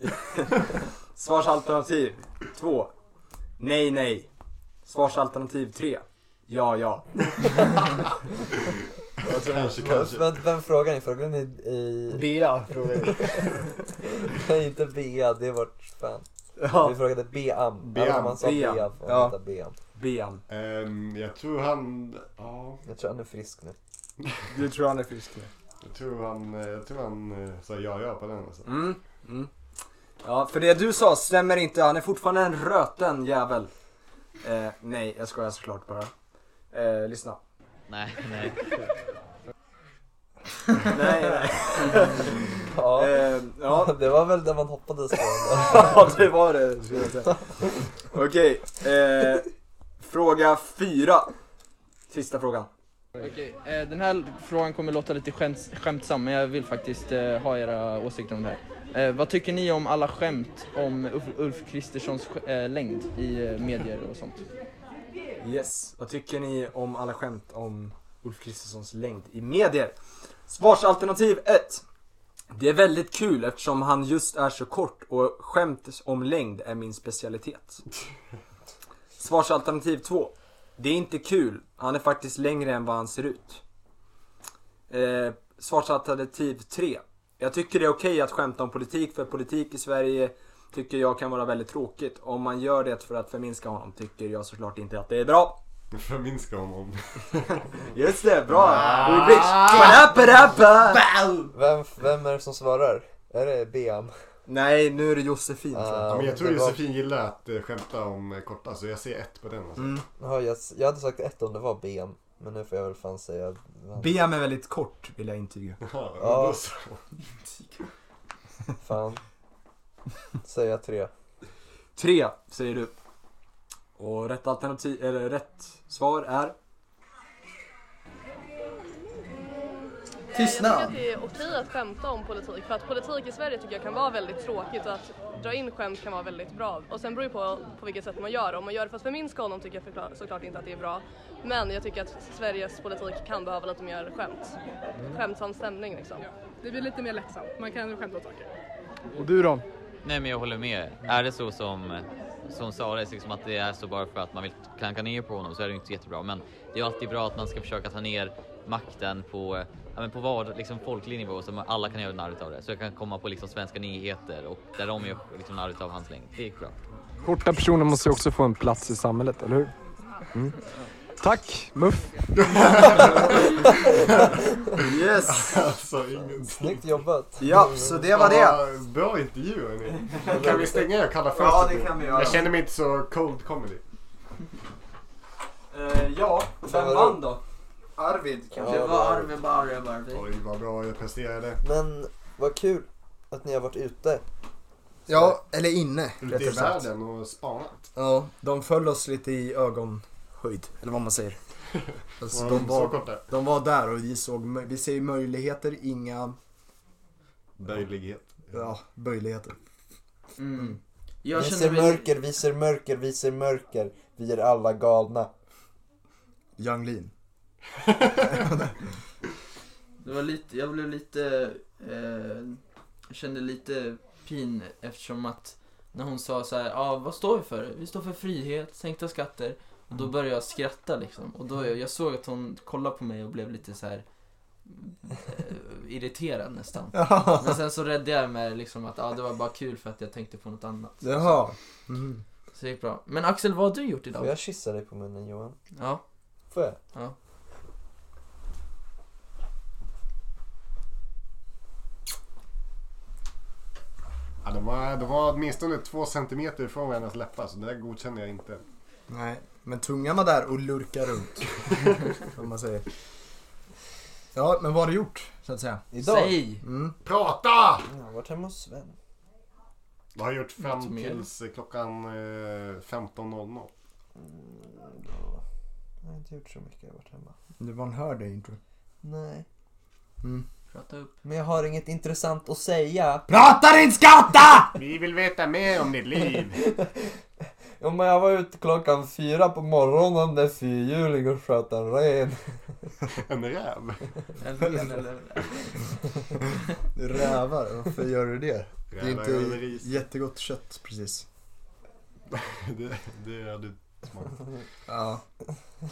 Speaker 1: Svarsalternativ 2. Nej, nej. Svarsalternativ 3. Ja, ja.
Speaker 3: Kanske, kanske.
Speaker 4: Vem, vem frågar ni? Frågar ni i...
Speaker 1: Bea frågar jag.
Speaker 4: Nej inte Bea, det var fan.
Speaker 1: Ja,
Speaker 4: Vi frågade
Speaker 3: Beam,
Speaker 4: Beam. Beam. Man sa
Speaker 1: Beam.
Speaker 4: Beam. Beam.
Speaker 1: Ja.
Speaker 4: Ja. Beam.
Speaker 1: Bean.
Speaker 3: Ehm, jag tror han... Ja,
Speaker 4: Jag tror han är frisk nu.
Speaker 1: Du tror han är frisk nu?
Speaker 3: jag tror han, eh, jag tror han eh, sa ja, ja på den alltså.
Speaker 1: Mm. mm. Ja, för det du sa stämmer inte. Han är fortfarande en röten jävel. Eh, nej, jag skojar såklart bara. Eh, lyssna.
Speaker 7: Nej, nej.
Speaker 1: Nej, nej.
Speaker 4: Ja.
Speaker 1: Eh, ja,
Speaker 4: Det var väl det man hoppades på. ändå.
Speaker 1: Ja, det var det. skulle jag säga. Okej, eh, fråga fyra. Sista frågan.
Speaker 5: Okej, eh, den här frågan kommer låta lite skämt, skämtsam men jag vill faktiskt eh, ha era åsikter om det här. Eh, vad tycker ni om alla skämt om Ulf- Ulf Kristerssons sk- eh, längd i eh, medier och sånt?
Speaker 1: Yes. Vad tycker ni om alla skämt om Ulf Kristerssons längd i medier. Svarsalternativ 1. Det är väldigt kul eftersom han just är så kort och skämt om längd är min specialitet. Svarsalternativ 2. Det är inte kul. Han är faktiskt längre än vad han ser ut. Eh, svarsalternativ 3. Jag tycker det är okej att skämta om politik för politik i Sverige tycker jag kan vara väldigt tråkigt. Om man gör det för att förminska honom tycker jag såklart inte att det är bra.
Speaker 3: Förminska honom.
Speaker 1: Just det, bra! Ulrich. Padappadappa!
Speaker 11: Vem, vem är det som svarar? Är det Beam?
Speaker 1: Nej, nu är det Josefin. tror
Speaker 3: Ja, men jag tror Josefin gillar att eh, skämta om eh, korta så jag ser ett på den. Alltså.
Speaker 1: Mm.
Speaker 11: Jaha, jag, s- jag hade sagt ett om det var Beam. Men nu får jag väl fan säga...
Speaker 4: Beam är väldigt kort vill jag intyga.
Speaker 11: Ja. Fan. Säga tre.
Speaker 1: Tre, säger du. Och rätt alternativ, eller rätt svar är?
Speaker 9: Eh, Jag tycker att det är okej att skämta om politik för att politik i Sverige tycker jag kan vara väldigt tråkigt och att dra in skämt kan vara väldigt bra. Och sen beror det på på vilket sätt man gör Om man gör det för att förminska honom tycker jag förklar- såklart inte att det är bra. Men jag tycker att Sveriges politik kan behöva lite mer skämt. Skämtsam stämning liksom.
Speaker 12: Det blir lite mer lättsamt. Man kan skämta åt saker.
Speaker 10: Och du då?
Speaker 7: Nej, men jag håller med. Är det så som, som sades, liksom att det är så bara för att man vill klanka ner på honom så är det ju inte så jättebra. Men det är ju alltid bra att man ska försöka ta ner makten på, ja, men på vad, liksom folklig nivå så man- alla kan göra narr av det. Så jag kan komma på liksom svenska nyheter och där de gör liksom narr av hans längd. Det gick bra.
Speaker 10: Korta personer måste ju också få en plats i samhället, eller hur? Mm. Tack, Muff!
Speaker 1: Yes!
Speaker 3: Alltså, ingenting.
Speaker 11: Snyggt jobbat!
Speaker 1: Ja, så det var
Speaker 3: Ja,
Speaker 1: det.
Speaker 3: Bra intervju hörni. Kan vi stänga kalla fönstret
Speaker 1: Ja, det
Speaker 3: nu?
Speaker 1: kan vi göra.
Speaker 3: Jag känner mig inte så cold comedy.
Speaker 1: Eh, ja,
Speaker 11: vem vann
Speaker 1: då? Arvid
Speaker 11: kanske? Det var
Speaker 2: Arvid Bauer, Arvid.
Speaker 3: Oj, vad bra jag presterade.
Speaker 11: Men vad kul att ni har varit ute.
Speaker 4: Ja, eller inne
Speaker 3: Ute i
Speaker 4: rättare sagt.
Speaker 3: världen och spanat.
Speaker 4: Ja, de föll oss lite i ögonhöjd, eller vad man säger. Alltså,
Speaker 3: Var de
Speaker 4: de,
Speaker 3: så
Speaker 4: var,
Speaker 3: korta?
Speaker 4: de var där och vi såg, mö- vi ser ju möjligheter, inga
Speaker 3: Böjlighet.
Speaker 4: ja, böjligheter.
Speaker 2: Mm.
Speaker 11: Vi
Speaker 2: Jag
Speaker 11: ser
Speaker 2: känner mig...
Speaker 11: mörker, vi ser mörker, vi ser mörker. Vi är alla galna.
Speaker 4: Yung Lean.
Speaker 2: Det var lite, jag blev lite, eh, jag kände lite pin eftersom att när hon sa så här, ah, vad står vi för? Vi står för frihet, sänkta skatter. Och
Speaker 11: Mm.
Speaker 2: då började jag skratta liksom. Och då, jag såg att hon kollade på mig och blev lite så här eh, irriterad nästan. Men sen så räddade jag mig liksom att ah, det var bara kul för att jag tänkte på något annat.
Speaker 4: Jaha. Mm.
Speaker 2: Så det gick bra. Men Axel, vad har du gjort
Speaker 11: Får
Speaker 2: idag?
Speaker 11: jag kyssa dig på munnen Johan?
Speaker 2: Ja.
Speaker 11: Får jag?
Speaker 2: Ja.
Speaker 3: Ja, de, var, de var åtminstone två centimeter ifrån varandras läppar så det där godkänner jag inte.
Speaker 4: Nej, men tungan var där och lurkade runt. Om man säger. Ja, men vad har du gjort? Så att säga.
Speaker 11: Idag?
Speaker 2: Säg!
Speaker 4: Mm.
Speaker 3: Prata!
Speaker 11: Jag har varit hemma hos Sven.
Speaker 3: Vad har jag gjort
Speaker 2: Något
Speaker 3: fram
Speaker 2: mer?
Speaker 3: tills klockan eh, 15.00?
Speaker 11: Jag har inte gjort så mycket, jag har varit hemma.
Speaker 4: Det var en hörd intro.
Speaker 11: Nej.
Speaker 2: Prata upp.
Speaker 11: Men jag har inget intressant att säga.
Speaker 4: PRATA DIN SKATTA!
Speaker 3: Vi vill veta mer om ditt liv.
Speaker 11: Ja, men jag var ute klockan fyra på morgonen när fyrhjuling och sköt en ren.
Speaker 3: En räv.
Speaker 4: Rävar, varför gör du det? Det är
Speaker 3: Rävar över
Speaker 4: inte
Speaker 3: ris.
Speaker 4: jättegott kött precis.
Speaker 3: Det, det hade smak.
Speaker 4: Ja.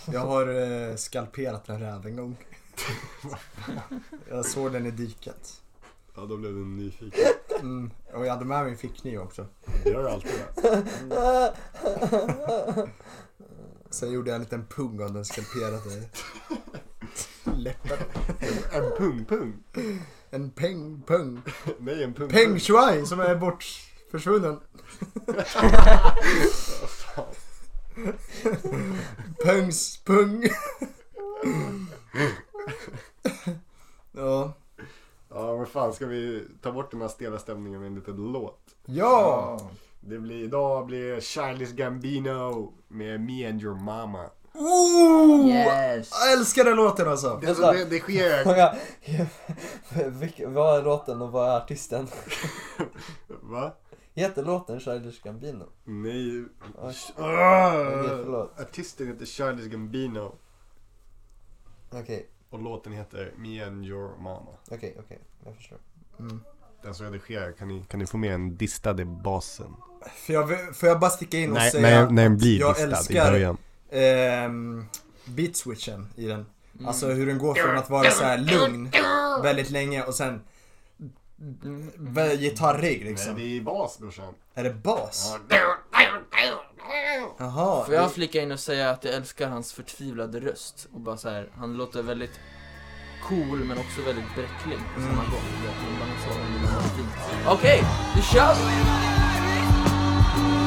Speaker 4: Jag har eh, skalperat en räv en gång. Jag såg den i diket.
Speaker 3: Ja, då blev du nyfiken.
Speaker 4: Mm. Och jag hade med mig en fickkniv också.
Speaker 3: Det gör du alltid. va?
Speaker 4: Sen gjorde jag en liten pung av den skalperade läppen.
Speaker 3: En pung-pung.
Speaker 4: En peng, pung.
Speaker 3: Nej, en
Speaker 4: Peng
Speaker 3: pung-pung.
Speaker 4: Shuai som är bort försvunnen. Pungs pung. ja.
Speaker 3: Ja, men fan ska vi ta bort den här stela stämningen med en liten låt?
Speaker 4: Ja!
Speaker 3: Det blir, idag blir det Charlies Gambino med Me and your mama.
Speaker 4: Oh!
Speaker 2: Yes!
Speaker 4: Jag älskar den låten alltså.
Speaker 3: Det, alltså, det, det sker...
Speaker 11: Många- Vilk- vad är låten och vad är artisten?
Speaker 3: Va?
Speaker 11: Heter låten Childish Gambino?
Speaker 3: Nej.
Speaker 11: Oj.
Speaker 3: Ah!
Speaker 11: Okej, förlåt.
Speaker 3: Artisten heter Charlies Gambino.
Speaker 13: Okej.
Speaker 3: Och låten heter Me and your mama.
Speaker 13: Okej, okej. Jag förstår.
Speaker 3: Den som redigerar, kan ni, kan ni få med en distade basen?
Speaker 4: För jag, vill- får jag bara sticka in och
Speaker 3: Nej,
Speaker 4: säga
Speaker 3: nej, nej, den blir
Speaker 4: jag
Speaker 3: distad i
Speaker 4: älskar
Speaker 3: början.
Speaker 4: ehm, beatswitchen i den.
Speaker 2: Mm.
Speaker 4: Alltså hur den går från att vara så här lugn väldigt länge och sen vä- gitarrig liksom.
Speaker 3: Nej, det är bas brorsan.
Speaker 4: Är det bas? Jaha.
Speaker 2: Får jag
Speaker 4: det-
Speaker 2: flika in och säga att jag älskar hans förtvivlade röst och bara så här, han låter väldigt cool men också väldigt bräcklig på samma
Speaker 11: Mm.
Speaker 2: gång. Det är en balansar, det är väldigt fint. Okej, nu kör vi!
Speaker 14: Ah! Oh,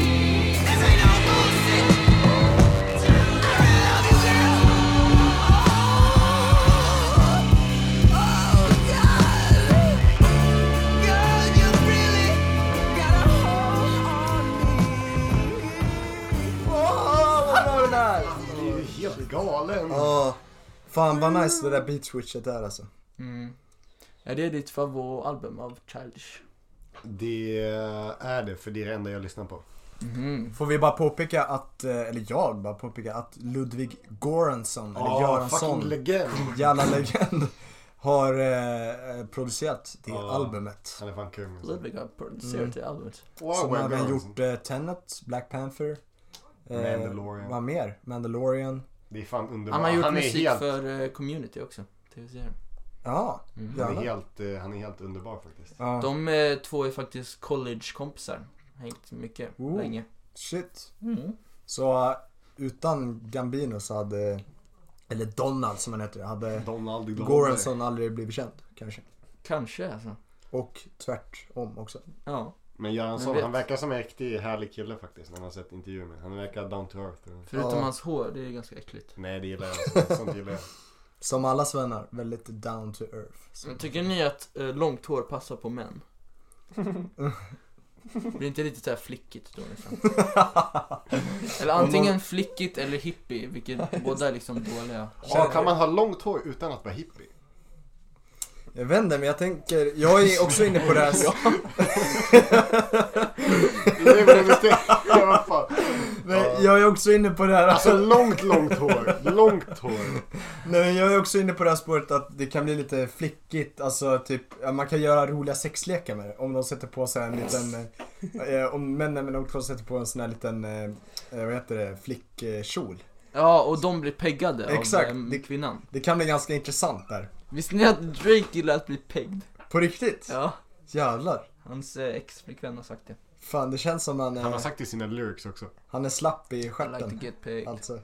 Speaker 14: Oh, Oh,
Speaker 3: Det är ju helt galen.
Speaker 4: Ja. Fan vad nice det där beatswitchet är alltså.
Speaker 2: Mm. Är det ditt favoritalbum av Childish?
Speaker 3: Det är det, för det är det enda jag lyssnar på.
Speaker 4: Får vi bara påpeka att, eh, eller jag bara påpeka att Ludvig Göransson, eller
Speaker 3: Ja,
Speaker 4: Göransson,
Speaker 3: fucking legend.
Speaker 4: jävla legend, har eh, producerat det albumet.
Speaker 3: Han är fan kung. alltså.
Speaker 2: Ludvig har
Speaker 11: Mm.
Speaker 2: producerat det albumet.
Speaker 4: Som
Speaker 3: Wow,
Speaker 4: även
Speaker 3: Göransson.
Speaker 4: gjort eh, Tenet, Black Panther, eh,
Speaker 3: Mandalorian.
Speaker 4: vad mer? Mandalorian.
Speaker 3: Det är fan underbart.
Speaker 2: Han har gjort
Speaker 3: är
Speaker 2: musik
Speaker 3: helt,
Speaker 2: för eh, community också. TV-serien.
Speaker 4: Ja,
Speaker 2: Mm.
Speaker 3: han, är
Speaker 4: jävlar.
Speaker 3: helt, eh, han är helt underbar faktiskt.
Speaker 4: Ja.
Speaker 2: De eh, två är faktiskt collegekompisar. Hängt mycket
Speaker 4: Oh.
Speaker 2: länge.
Speaker 4: Shit.
Speaker 2: Mm.
Speaker 4: Så eh, utan Gambino så hade, eller Donald som han heter, hade
Speaker 3: Donald Glover.
Speaker 4: Göransson aldrig blivit känd kanske.
Speaker 2: Kanske alltså.
Speaker 4: Och tvärtom också.
Speaker 2: Ja.
Speaker 3: Men Göransson,
Speaker 2: Jag vet.
Speaker 3: han verkar som en riktig härlig kille faktiskt när man har sett intervjuer med honom. Han verkar down to earth.
Speaker 2: Förutom
Speaker 4: Ja.
Speaker 2: hans hår, det är ganska äckligt.
Speaker 3: Nej, det gillar jag. inte. Sånt gillar jag.
Speaker 4: Som alla svennar, väldigt down to earth. Så-
Speaker 2: Men tycker ni att eh, långt hår passar på män? Blir inte lite såhär flickigt då liksom? Eller antingen flickigt eller hippie, vilket båda är liksom dåliga.
Speaker 3: Ja, kan man ha långt hår utan att vara hippie?
Speaker 4: Jag vet inte, men jag tänker, jag är också inne på det här.
Speaker 3: Nej, men det är ja, vad fan.
Speaker 4: Men jag är också inne på det här.
Speaker 3: Alltså långt, långt hår. Långt hår.
Speaker 4: Nej men jag är också inne på det här spåret att det kan bli lite flickigt, alltså typ, ja, man kan göra roliga sexlekar med det. Om de sätter på sig en liten, eh, eh, om männen med långt hår sätter på en sån här liten, eh, eh, vad heter det, flickkjol.
Speaker 2: Ja, och de blir peggade
Speaker 4: Exakt,
Speaker 2: av
Speaker 4: det-
Speaker 2: eh, kvinnan.
Speaker 4: Det kan bli ganska intressant där.
Speaker 2: Visste ni att Drake gillar att bli pegged?
Speaker 4: På riktigt?
Speaker 2: Ja,
Speaker 4: Jävlar.
Speaker 2: hans eh, ex-flickvän har sagt det.
Speaker 4: Fan det känns som han, eh,
Speaker 3: Han har sagt i sina lyrics också.
Speaker 4: han är slapp i
Speaker 2: I like
Speaker 4: stjärten.
Speaker 2: to get pegged.
Speaker 4: Alltså.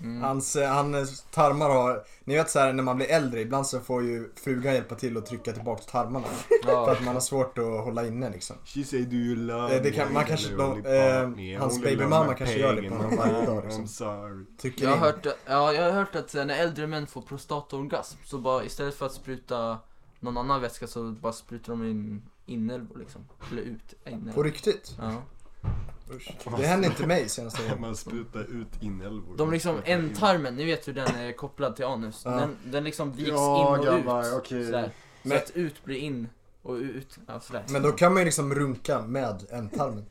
Speaker 2: Mm.
Speaker 4: Hans, eh, hans tarmar har, ni vet såhär när man blir äldre, ibland så får ju frugan hjälpa till att trycka tillbaka tarmarna. För
Speaker 2: Ja.
Speaker 4: att man har svårt att hålla inne liksom.
Speaker 3: She say do you love
Speaker 4: Eh, det kan-
Speaker 3: me?
Speaker 4: man kanske-
Speaker 3: Only
Speaker 4: de-
Speaker 3: part
Speaker 4: eh,
Speaker 3: me.
Speaker 4: hans
Speaker 3: Only
Speaker 4: babymamma
Speaker 3: love my
Speaker 4: kanske gör det
Speaker 3: pain
Speaker 4: på
Speaker 3: and
Speaker 4: honom varje dag, liksom.
Speaker 3: I'm sorry.
Speaker 4: Trycker
Speaker 2: Jag har,
Speaker 4: in.
Speaker 2: hört, ja, jag har hört att eh, när äldre män får prostataorgasm så bara istället för att spruta någon annan vätska så bara sprutar de in inälvor liksom. Eller ut
Speaker 4: På
Speaker 2: inälvor.
Speaker 4: riktigt?
Speaker 2: Ja.
Speaker 4: Usch. Det hände inte mig senaste gången.
Speaker 3: Man sprutar ut inälvor.
Speaker 2: De liksom, ändtarmen, ni vet hur den är kopplad till anus.
Speaker 4: Ja.
Speaker 2: Den, den liksom viks
Speaker 3: Ja,
Speaker 2: in och
Speaker 3: grabbar,
Speaker 2: ut.
Speaker 3: okej.
Speaker 2: Sådär. Så
Speaker 4: Men-
Speaker 2: att ut blir in och ut. Ja, sådär.
Speaker 4: Men då kan man ju liksom runka med ändtarmen.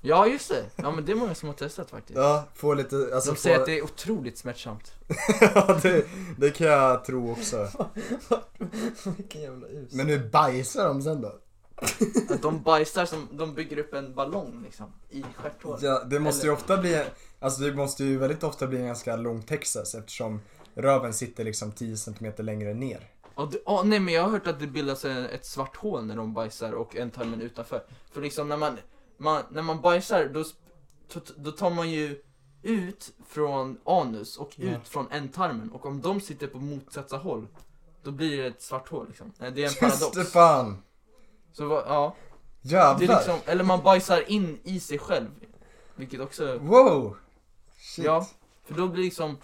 Speaker 2: ja just det. Ja men det är många som har testat faktiskt.
Speaker 4: Ja, få lite, alltså
Speaker 2: De
Speaker 4: få...
Speaker 2: säger att det är otroligt smärtsamt.
Speaker 4: ja, det, det kan jag tro också.
Speaker 13: Vilken jävla us.
Speaker 4: Men nu bajsar de sen då?
Speaker 2: Att de bajsar som, de bygger upp en ballong liksom. I stjärthålet.
Speaker 4: Ja, det måste ju
Speaker 2: Eller-
Speaker 4: ofta bli, alltså det måste ju väldigt ofta bli en ganska lång Texas eftersom röven sitter liksom 10 cm längre ner.
Speaker 2: Ja, det, ja, nej men jag har hört att det bildas en- ett svart hål när de bajsar och ändtarmen utanför. För liksom när man, man, när man bajsar då, sp- då, då tar man ju ut från anus och
Speaker 4: Ja.
Speaker 2: ut från ändtarmen och om de sitter på motsatta håll då blir det ett svart hål liksom. Nej, Det är en paradox.
Speaker 4: Just fan!
Speaker 2: Så va- ja, det
Speaker 4: Jävlar!
Speaker 2: är liksom, eller man bajsar in i sig själv. Vilket också,
Speaker 4: Wow! Oh, Shit.
Speaker 2: ja. För då blir liksom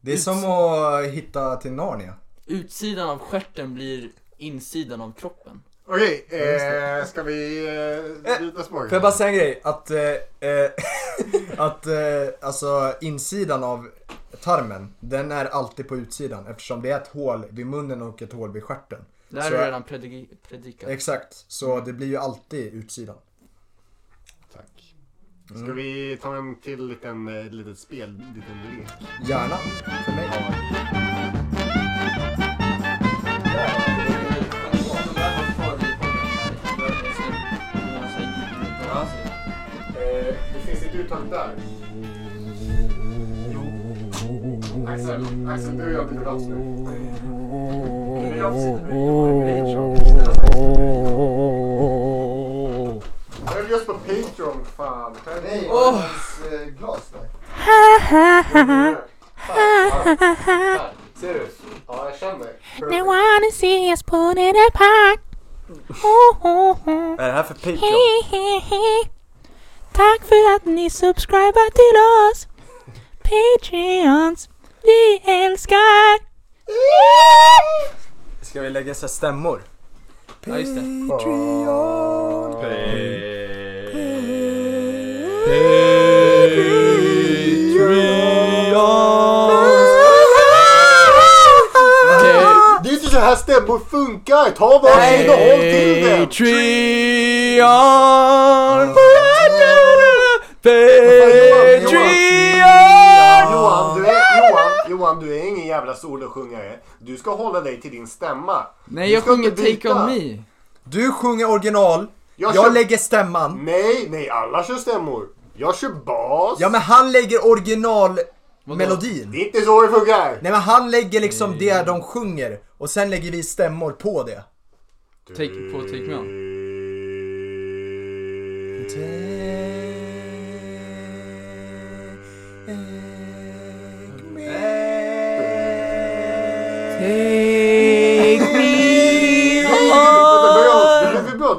Speaker 4: Det är som att hitta till Narnia.
Speaker 2: utsidan av stjärten blir insidan av kroppen.
Speaker 3: Okej, eh, ska vi eh, byta spår?
Speaker 4: Får jag bara säga en grej? Att, eh, eh, att eh, alltså insidan av tarmen, den är alltid på utsidan eftersom det är ett hål vid munnen och ett hål vid stjärten.
Speaker 2: Det här
Speaker 4: Så-
Speaker 2: är redan predigi- predikat.
Speaker 4: Exakt, så det blir ju alltid utsidan.
Speaker 3: Tack. Ska vi ta en till liten, eh, litet spel, liten lek?
Speaker 4: Gärna, för mig.
Speaker 3: Eh, det finns ett uttag där. Jo. Axel, Axel du och jag byter plats nu. Men jag sitter med- Jag är just på Patreon, fan. Nej,
Speaker 10: Åh.
Speaker 3: eh, glas där.
Speaker 10: Ser du? Ja, jag känner.
Speaker 14: They wanna see us put it apart. Oh, oh, oh.
Speaker 1: Vad är det här för Patreon?
Speaker 14: He, he, he. Tack för att ni subscribar till oss. Patreons, vi älskar.
Speaker 1: Ska vi lägga så här stämmor?
Speaker 2: Ja, just det.
Speaker 1: Patreon!
Speaker 3: Det är inte så här stämmor funkar! Ta varsin och håll till den!
Speaker 10: Patreon!
Speaker 3: Johan, du är, Johan, Johan, du är ingen jävla solosjungare. Du ska hålla dig till din stämma.
Speaker 4: Nej,
Speaker 3: Du
Speaker 4: jag
Speaker 3: ska
Speaker 4: sjunger
Speaker 3: inte byta.
Speaker 4: Take On Me. Du sjunger original, jag,
Speaker 3: kör-
Speaker 4: lägger stämman.
Speaker 3: Nej, nej, alla kör stämmor. Jag kör bas.
Speaker 4: Ja men han lägger originalmelodin.
Speaker 3: Det är inte så det funkar.
Speaker 4: Nej men han lägger liksom det de sjunger och sen lägger vi stämmor på det.
Speaker 2: Take, på Take Me On.
Speaker 10: Take me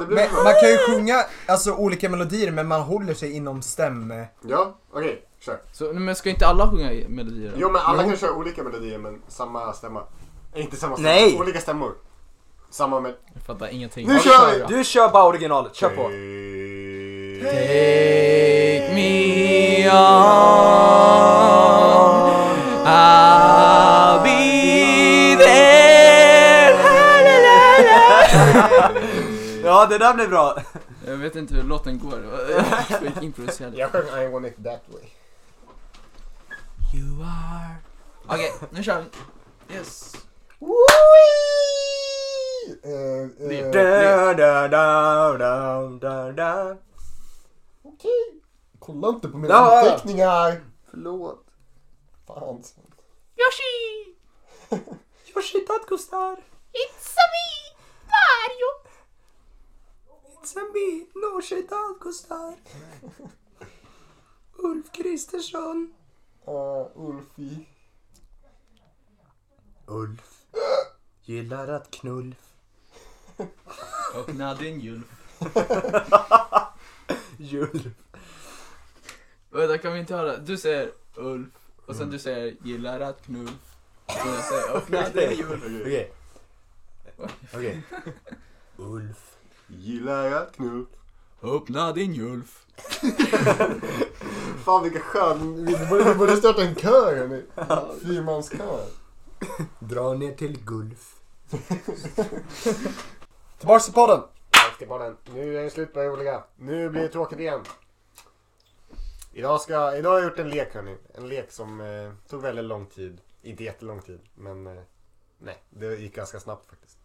Speaker 4: Men man kan ju sjunga alltså olika melodier men man håller sig inom stäm...
Speaker 3: Ja, okej, kör.
Speaker 2: Så, nej, men ska inte alla sjunga i- melodier? då?
Speaker 3: Jo men alla kan köra olika melodier men samma stämma. Eh, Inte samma stämma,
Speaker 2: Nej.
Speaker 3: olika stämmor. Samma med...
Speaker 2: Jag fattar ingenting.
Speaker 3: Nu
Speaker 2: Ja,
Speaker 3: kör vi!
Speaker 1: Du kör bara originalet, kör på.
Speaker 2: Take me on. I'll be there.
Speaker 1: Ja, det där blev bra.
Speaker 2: Jag vet inte hur låten går. Skit improviserad.
Speaker 3: Jag sjöng I want it that way.
Speaker 2: You are... Okej, nu kör vi. Yes.
Speaker 3: eh.
Speaker 1: Da, da, da, da, da, da.
Speaker 3: Okej. Kolla inte på mina
Speaker 1: Ja.
Speaker 3: anteckningar. Förlåt. Fan.
Speaker 10: Yoshi!
Speaker 1: Yoshi Tadkustar!
Speaker 10: It's a me! Mario!
Speaker 1: It's a me, Nooshi Dadgostar. Ulf Kristersson.
Speaker 3: Uh, Ulfi.
Speaker 1: Ulf. Gillar att knullf.
Speaker 2: Öppna din julf.
Speaker 1: Julf.
Speaker 2: Vänta, kan vi inte höra? Du säger Ulf och sen du säger gillar att knullf. Och jag säger öppna din julf.
Speaker 1: Okej. Okej. Ulf.
Speaker 3: Gillar att knull.
Speaker 2: Öppna din julf.
Speaker 3: Fan vilka skön... Vi borde, vi borde starta en kör hörni. Fyrmanskör.
Speaker 1: Dra ner till Gulf.
Speaker 4: Tillbaks till podden!
Speaker 3: Tillbaks till podden. Nu är det slut på det roliga. Nu blir det tråkigt igen. Idag, ska, idag har jag gjort en lek hörni. En lek som eh, tog väldigt lång tid. Inte jättelång tid men eh, nej, det gick ganska snabbt faktiskt.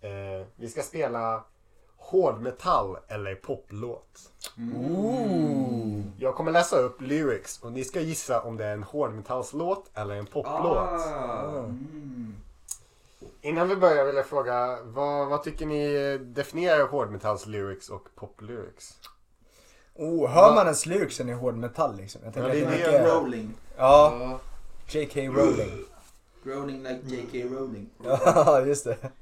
Speaker 3: Eh, vi ska spela hårdmetall eller poplåt.
Speaker 10: Ooh.
Speaker 3: Jag kommer läsa upp lyrics och ni ska gissa om det är en hårdmetallslåt eller en poplåt. Innan vi börjar vill jag fråga, vad, vad tycker ni definierar hårdmetalls lyrics och poplyrics?
Speaker 4: Oh, hör man ens lyricsen i hårdmetall liksom? Jag tänker
Speaker 3: Ja, det är
Speaker 4: att
Speaker 3: det.
Speaker 4: mycket-
Speaker 3: Rowling.
Speaker 4: Ja. J.K. Rowling.
Speaker 2: Rolling like JK Rowling.
Speaker 4: Ja, just det.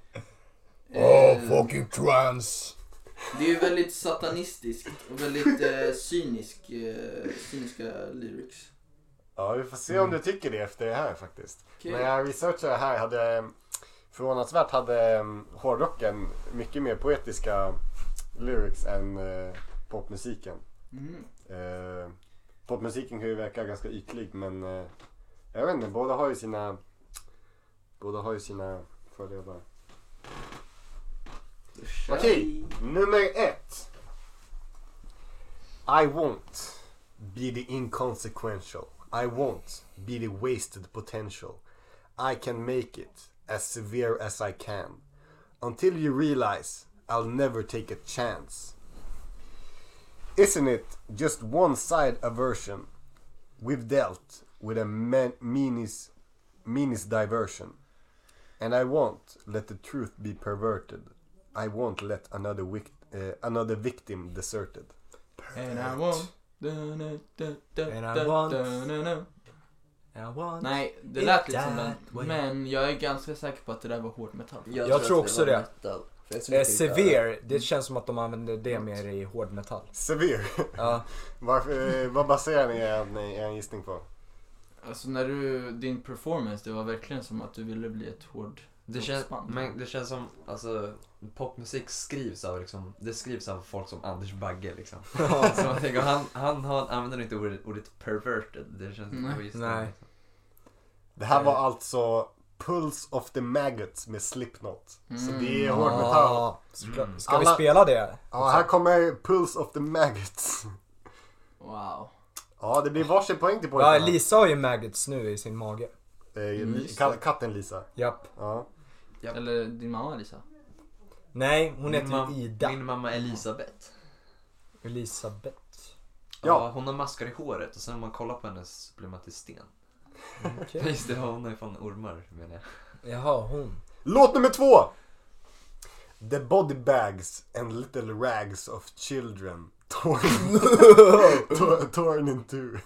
Speaker 2: Eh.
Speaker 4: trans.
Speaker 2: Det är ju väldigt satanistiskt och väldigt eh, cynisk, eh, cyniska lyrics.
Speaker 3: Mm. Ja, vi får se om du tycker det efter det här faktiskt.
Speaker 2: Okej.
Speaker 3: När jag researchade det här hade jag förvånansvärt hade um, hårdrocken mycket mer poetiska lyrics än eh, popmusiken.
Speaker 2: Mm.
Speaker 3: Eh, popmusiken kan ju verka ganska ytlig men eh, jag vet inte, båda har ju sina, båda har ju sina fördelar.
Speaker 8: kör
Speaker 3: Okej, nummer ett. I won't be the inconsequential. I won't be the wasted potential. I can make it as severe as I can. Until you realize I'll never take a chance. Isn't it just one side aversion? We've dealt with a man- meanest, meanest diversion. And I won't let the truth be perverted. I won't let another, wic- uh, another victim deserted.
Speaker 2: And I want...
Speaker 15: And I want-
Speaker 2: And I want Nej, det lät liksom den. Men jag är ganska säker på att det där var hårt metall.
Speaker 14: Jag, tror också det. Eh, severe, det känns som att de använder det mer i hårdmetall.
Speaker 3: Severe?
Speaker 14: Ja.
Speaker 3: Varför, eh, vad baserar ni er, ni er gissning på?
Speaker 2: Alltså när du, din performance, det var verkligen som att du ville bli ett hård
Speaker 14: Det känns,
Speaker 2: rockband.
Speaker 14: men det känns som, alltså popmusik skrivs av liksom, det skrivs av folk som Anders Bagge liksom. så man tänker, han, han, han använder inte ordet, ordet perverted. Det känns
Speaker 2: Nej.
Speaker 14: som just
Speaker 3: Nej.
Speaker 14: liksom.
Speaker 3: Det här
Speaker 14: Eh.
Speaker 3: var alltså Pulse of the Maggots med Slipknot. Så det är
Speaker 14: Mm.
Speaker 3: hård
Speaker 14: Ah,
Speaker 3: metall.
Speaker 14: ska-
Speaker 4: Mm.
Speaker 14: ska vi spela det?
Speaker 3: Ja, här kommer Pulse of the Maggots.
Speaker 2: Wow.
Speaker 3: Ja, det blir varsin poäng till
Speaker 14: Ja,
Speaker 3: pojkarna.
Speaker 14: Lisa har ju maggots nu i sin mage.
Speaker 3: Eh, Li- ka- katten Lisa.
Speaker 14: Japp.
Speaker 3: Ja.
Speaker 2: Eller din mamma Lisa.
Speaker 14: Nej,
Speaker 2: hon heter ju
Speaker 14: typ Ida. Min mamma Elisabeth. Elisabeth. Ja. hon har maskar i håret och sen när man kollar på henne så blir man till sten.
Speaker 4: Okej.
Speaker 14: Just det, hon är fan ormar menar jag.
Speaker 4: Jaha, hon.
Speaker 3: Låt nummer två! The body bags and little rags of children torn, tor- torn in two.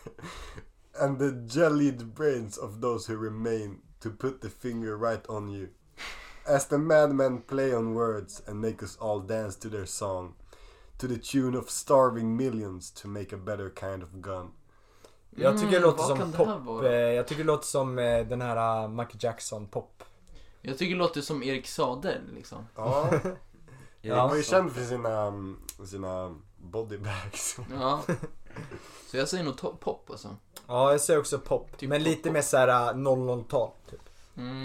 Speaker 3: And the jellied brains of those who remain to put the finger right on you. As the madmen play on words and make us all dance to their song. To the tune of starving millions to make a better kind of gun.
Speaker 14: Jag
Speaker 4: tycker Mm, det låter som pop. eh, Jag tycker det låter som eh, den här eh, Michael Jackson pop.
Speaker 2: Jag tycker det låter som Erik Sade liksom.
Speaker 3: Ja.
Speaker 4: Ja.
Speaker 3: Han var ju känd för sina, um, sina body bags.
Speaker 2: Ja. Så jag säger nog to- pop alltså.
Speaker 4: Ja, jag säger också pop. men lite mer såhär 00-tal. Typ.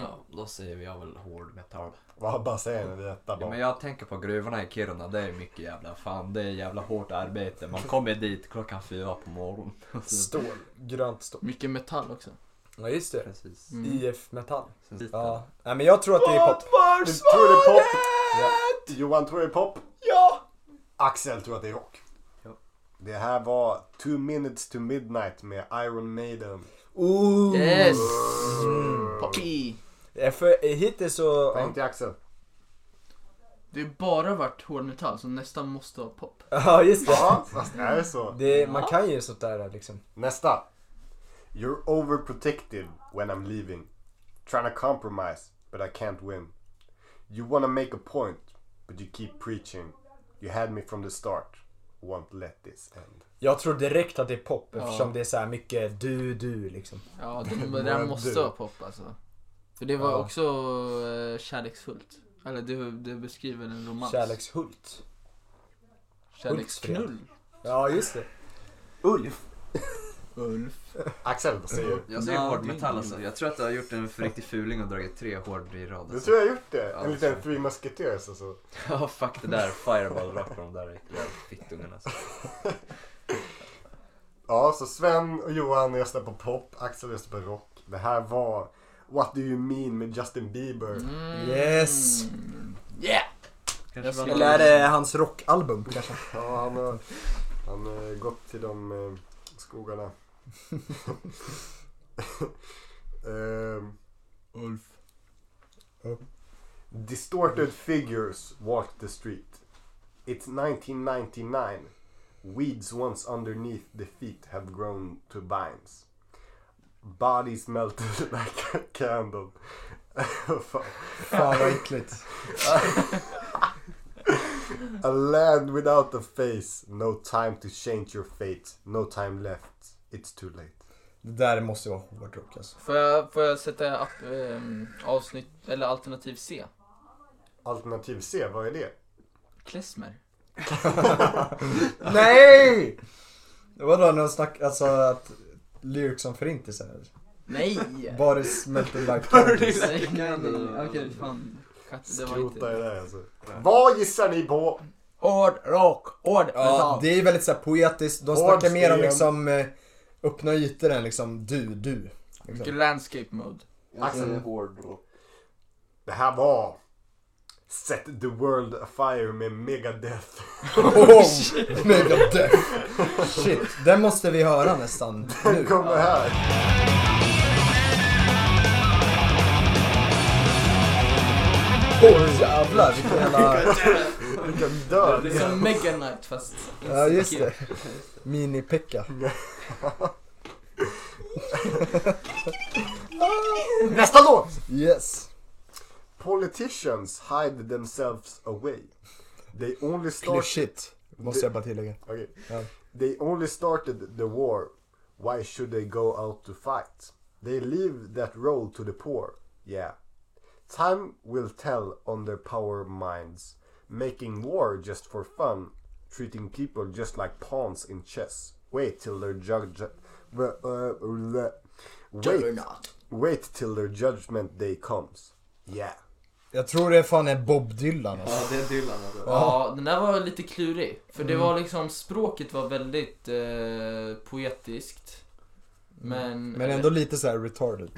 Speaker 14: Ja, då säger jag väl hård metall.
Speaker 3: Vad bara säger ni detta
Speaker 14: Ja,
Speaker 3: bara?
Speaker 14: men jag tänker på gruvorna i Kiruna, det är mycket jävla fan, det är jävla hårt arbete. Man kommer dit klockan fyra på morgonen.
Speaker 4: Stål. Grönt stål.
Speaker 2: Mycket metall också.
Speaker 4: Ja, just det.
Speaker 2: Mm.
Speaker 4: IF Metall. Ja. Nej, men jag tror att det är pop.
Speaker 3: Du tror det är pop? Johan tror det är pop?
Speaker 4: Ja!
Speaker 3: Axel tror att det är rock.
Speaker 14: Ja.
Speaker 3: Det här var Two minutes to midnight med Iron Maiden.
Speaker 4: Ooh.
Speaker 3: Yes.
Speaker 4: Mm.
Speaker 2: Poppy!
Speaker 4: Ja, För eh, hittills så...
Speaker 3: Poäng till Axel.
Speaker 2: Det har bara varit hårdmetall så nästan måste vara pop.
Speaker 4: Ja, just det.
Speaker 3: Ja, fast det är så.
Speaker 4: Det, man kan ju sånt där liksom.
Speaker 3: Nästa. You're overprotective when I'm leaving. Trying to compromise, but I can't win. You wanna make a point, but you keep preaching. You had me from the start. Won't let this end.
Speaker 4: Jag tror direkt att det är pop
Speaker 2: Ja.
Speaker 4: eftersom det är så här mycket du, du liksom.
Speaker 2: Ja, det, det där måste vara pop alltså. För det var
Speaker 4: Ja.
Speaker 2: också eh, kärleksfullt. Eller det, det beskriver en romans.
Speaker 4: Kärlekshult.
Speaker 2: Kärleksknull.
Speaker 4: Ja, just det.
Speaker 14: Ulf.
Speaker 2: Ulf.
Speaker 3: Axel, vad säger du?
Speaker 14: Jag säger
Speaker 3: Nej,
Speaker 14: hård
Speaker 3: det är
Speaker 14: metall
Speaker 3: ingen.
Speaker 14: alltså. Jag tror att jag har gjort en för riktig fuling och dragit tre hård i rad. Alltså.
Speaker 3: Du tror jag har gjort det?
Speaker 14: Ja,
Speaker 3: en
Speaker 14: så-
Speaker 3: liten Three Musketeers alltså. och så.
Speaker 14: Ja, fuck det där. Fireball rakt på de där jävla fittungarna. Alltså.
Speaker 3: Ja, så Sven och Johan röstar på pop, Axel röstar på rock. Det här var What Do You Mean med Justin Bieber.
Speaker 2: Mm.
Speaker 4: Yes!
Speaker 2: Yeah!
Speaker 3: Kanske var-
Speaker 4: Eller är det hans rockalbum kanske?
Speaker 3: Ja, han har, han har gått till de eh, skogarna. Ehm.
Speaker 2: Ulf.
Speaker 3: Distorted figures walk the street. It's 1999. Weeds once underneath the feet have grown to vines. Bodies melted like a candle. Fan
Speaker 1: Fan, vad äckligt.
Speaker 3: a land without a face. No time to change your fate. No time left. It's too late.
Speaker 4: Det där måste vara hårdrock alltså.
Speaker 2: Får jag, får jag sätta att, ehm, avsnitt, eller alternativ C?
Speaker 3: Alternativ C, vad är det?
Speaker 2: Klezmer.
Speaker 4: Nej! Vadå, när de snackar, alltså att lyrics som förintelse? eller?
Speaker 2: Nej!
Speaker 4: Body smelted like
Speaker 2: Burning
Speaker 4: candles.
Speaker 2: like candles. Okej, fan. Det var inte...
Speaker 3: Skrota i det här, alltså. Vad gissar ni på?
Speaker 2: Hård rock, hård
Speaker 4: Ja, det är väldigt så här poetiskt. De
Speaker 3: Hård
Speaker 4: snackar mer om
Speaker 3: sten.
Speaker 4: liksom eh, öppna ytor än liksom du, du. Liksom.
Speaker 2: Landscape mode.
Speaker 3: Axel.
Speaker 14: hårdrock.
Speaker 3: Det här var Set the World Afire med Megadeth.
Speaker 4: Oh, Megadeth. Shit, den måste vi höra nästan nu.
Speaker 3: Den kommer här.
Speaker 4: Åh jävlar vilken jävla...
Speaker 3: Vilken död.
Speaker 2: Det är som Mega Knight fast...
Speaker 4: Ja just det. Mini-Pekka.
Speaker 3: Nästa låt!
Speaker 4: Yes.
Speaker 3: Politicians hide themselves away. They only start...
Speaker 4: Klyschigt. Måste jag bara tillägga.
Speaker 3: Okej.
Speaker 4: Ja.
Speaker 3: They only started the war. Why should they go out to fight? They leave that role to the poor. Yeah. Time will tell on their power minds. Making war just for fun. Treating people just like pawns in chess. Wait till their judge. Uh, uh, le- wait. Wait till their judgment day comes. Yeah.
Speaker 4: Jag tror det fan är Bob Dylan alltså.
Speaker 14: det är Dylan.
Speaker 2: Ja, den där var lite klurig. För det var liksom, språket var väldigt eh, poetiskt. Men...
Speaker 4: Men ändå lite så här retarded.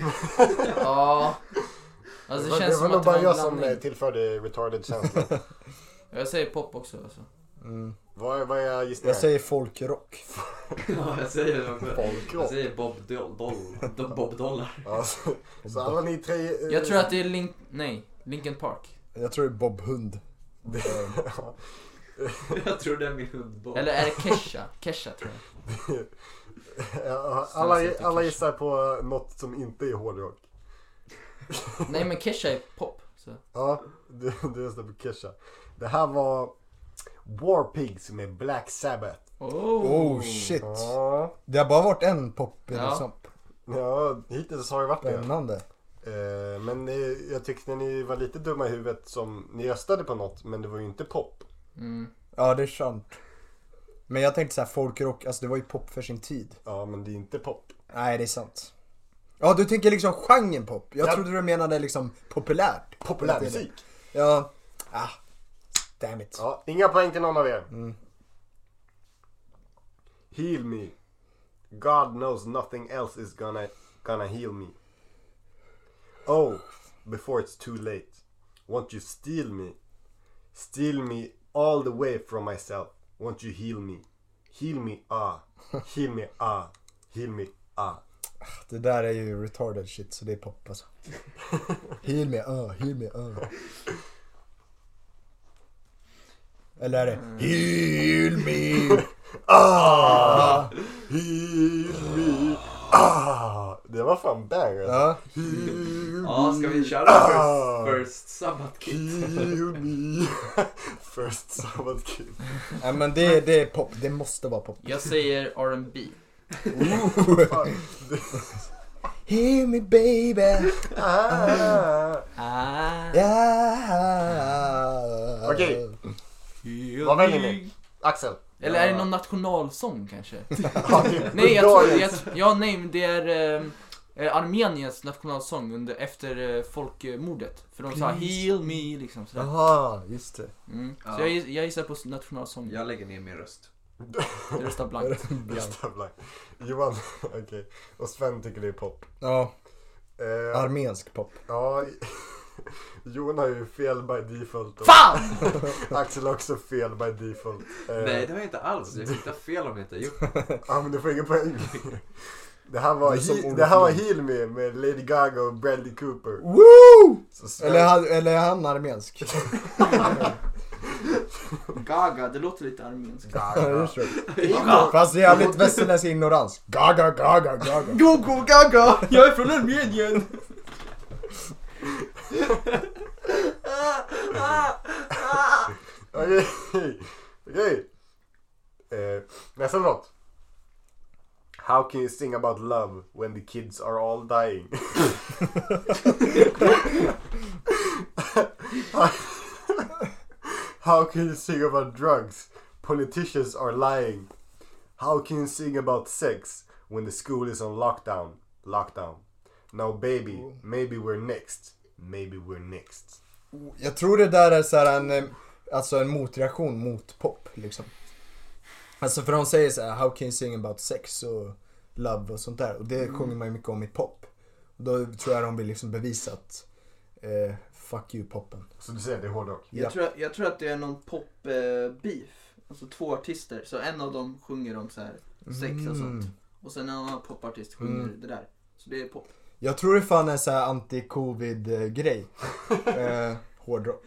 Speaker 2: Ja. Alltså det
Speaker 3: var-
Speaker 2: känns
Speaker 3: var
Speaker 2: som
Speaker 3: nog
Speaker 2: att det
Speaker 3: bara
Speaker 2: var
Speaker 3: jag
Speaker 2: en
Speaker 3: som eh,
Speaker 2: blandning.
Speaker 3: tillförde retarded känslan.
Speaker 2: Jag säger pop också alltså.
Speaker 4: Mm.
Speaker 3: vad, vad är jag gissar?
Speaker 4: Jag säger folkrock.
Speaker 14: Ja, jag säger det också.
Speaker 3: Folkrock.
Speaker 14: Jag säger Bob Doll, Doll, Bob Dollar.
Speaker 3: Ja, så, så alla ni tre... eh,
Speaker 2: Jag tror att det är Link... Nej, Linkin Park.
Speaker 4: Jag tror det är Bob Hund.
Speaker 14: Jag tror det är min hund Bob.
Speaker 2: Eller är det Kesha? Kesha tror jag.
Speaker 3: Ja, alla, alla gissar på eh, något som inte är hårdrock.
Speaker 2: Nej men Kesha är pop. Så.
Speaker 3: Ja, du, du röstar på Kesha. Det här var War Pigs med Black Sabbath.
Speaker 2: Oh.
Speaker 4: Oh shit.
Speaker 3: Ja,
Speaker 4: Det har bara varit en pop i
Speaker 2: Ja.
Speaker 4: svamp.
Speaker 3: ja hittills har det varit det.
Speaker 4: Spännande.
Speaker 3: Eh, Men eh, jag tyckte ni var lite dumma i huvudet som ni röstade på något men det var ju inte pop.
Speaker 2: Mm.
Speaker 4: Ja det är sant. Men jag tänkte så här folkrock, alltså det var ju pop för sin tid.
Speaker 3: Ja, men det är inte pop.
Speaker 4: Nej det är sant. Ja du tänker liksom genren pop. Jag
Speaker 3: Ja.
Speaker 4: trodde du menade liksom populärt.
Speaker 3: Populärmusik.
Speaker 4: Ja. Ah. Damn it.
Speaker 3: Ja, inga poäng till någon av er.
Speaker 4: Mm.
Speaker 3: Heal me. God knows nothing else is gonna, gonna heal me. Oh, before it's too late. Won't you steal me? Steal me all the way from myself. Won't you heal me? Heal me, ah. Heal me, ah. Heal me, ah.
Speaker 4: Det där är ju retarded shit så det är pop alltså. heal me, uh, heal me, uh. Eller är det
Speaker 3: Mm.
Speaker 4: Heal me!
Speaker 3: Ah! Heal me, ah. Det var fan banger. alltså.
Speaker 4: Ja.
Speaker 3: Heal
Speaker 14: Ja, ska vi köra
Speaker 2: Mm.
Speaker 3: Ah.
Speaker 14: First, first Sabbath Kid?
Speaker 3: Kill me. First Sabbath Kid.
Speaker 4: ja men det, det är pop, det måste vara pop.
Speaker 2: Jag säger R&B.
Speaker 3: Fan.
Speaker 4: Heal me baby!
Speaker 3: Ah.
Speaker 2: Ah.
Speaker 4: Yeah.
Speaker 3: Okej. Vad väljer ni? Axel.
Speaker 2: Eller är det någon nationalsång kanske?
Speaker 3: Ja, det är
Speaker 2: nej, jag tror, jag,
Speaker 3: Bulgariens.
Speaker 2: ja, nej, men det är ehm, eh, Armeniens nationalsång under, efter eh, folkmordet. För de sa heal me liksom sådär.
Speaker 4: Jaha, just det.
Speaker 2: Mm. Så
Speaker 14: Ja.
Speaker 2: jag, giss- jag gissar på nationalsången.
Speaker 14: Jag lägger ner min röst.
Speaker 2: Jag röstar blankt.
Speaker 3: Nästa blank. Johan, okej. Och Sven tycker det är pop.
Speaker 4: Ja,
Speaker 3: Eh,
Speaker 4: armensk pop.
Speaker 3: ja, Johan har ju fel by default. Och
Speaker 2: Fan!
Speaker 3: Axel har också fel by default. Eh,
Speaker 14: Nej, det har jag inte alls. Jag hittar fel om jag inte har gjort det.
Speaker 3: Ja, men du får ingen poäng. Det här var,
Speaker 4: Det är som
Speaker 3: he,
Speaker 4: Olof
Speaker 3: det här var
Speaker 4: Lund.
Speaker 3: Heal Me med Lady Gaga och Bradley Cooper.
Speaker 4: Woo!
Speaker 3: Så Sven-
Speaker 4: Eller, han- eller är han armensk?
Speaker 2: Gaga, det låter lite armenskt.
Speaker 4: Ja,
Speaker 3: Gaga.
Speaker 4: det tror jag. Fast jävligt västerländsk ignorans. Gaga, gaga, gaga.
Speaker 2: Gogo Gaga! Jag är från Armenien!
Speaker 3: Okej. Okej. Eh, nästa låt. How can you sing about love when the kids are all dying? How can you sing about drugs? Politicians are lying. How can you sing about sex when the school is on lockdown? Lockdown. Now baby, maybe we're next. Maybe we're next.
Speaker 4: Jag tror det där är så här en, eh, alltså en motreaktion mot pop liksom. Alltså för de säger så här, how can you sing about sex och love och sånt där. Och det
Speaker 16: Mm.
Speaker 4: sjunger man ju mycket om i pop. Och då tror jag de vill liksom bevisa att eh, fuck you popen.
Speaker 3: Så du säger det är hårdrock?
Speaker 4: Ja.
Speaker 2: Jag, tror, jag tror att det är någon pop-beef. Alltså två artister. Så en av dem sjunger om så här sex och sånt.
Speaker 4: Mm.
Speaker 2: Och sen en annan popartist sjunger
Speaker 4: Mm.
Speaker 2: det där. Så det är pop.
Speaker 4: Jag tror det fan är en så här anti-covid eh, grej. eh, hårdrock.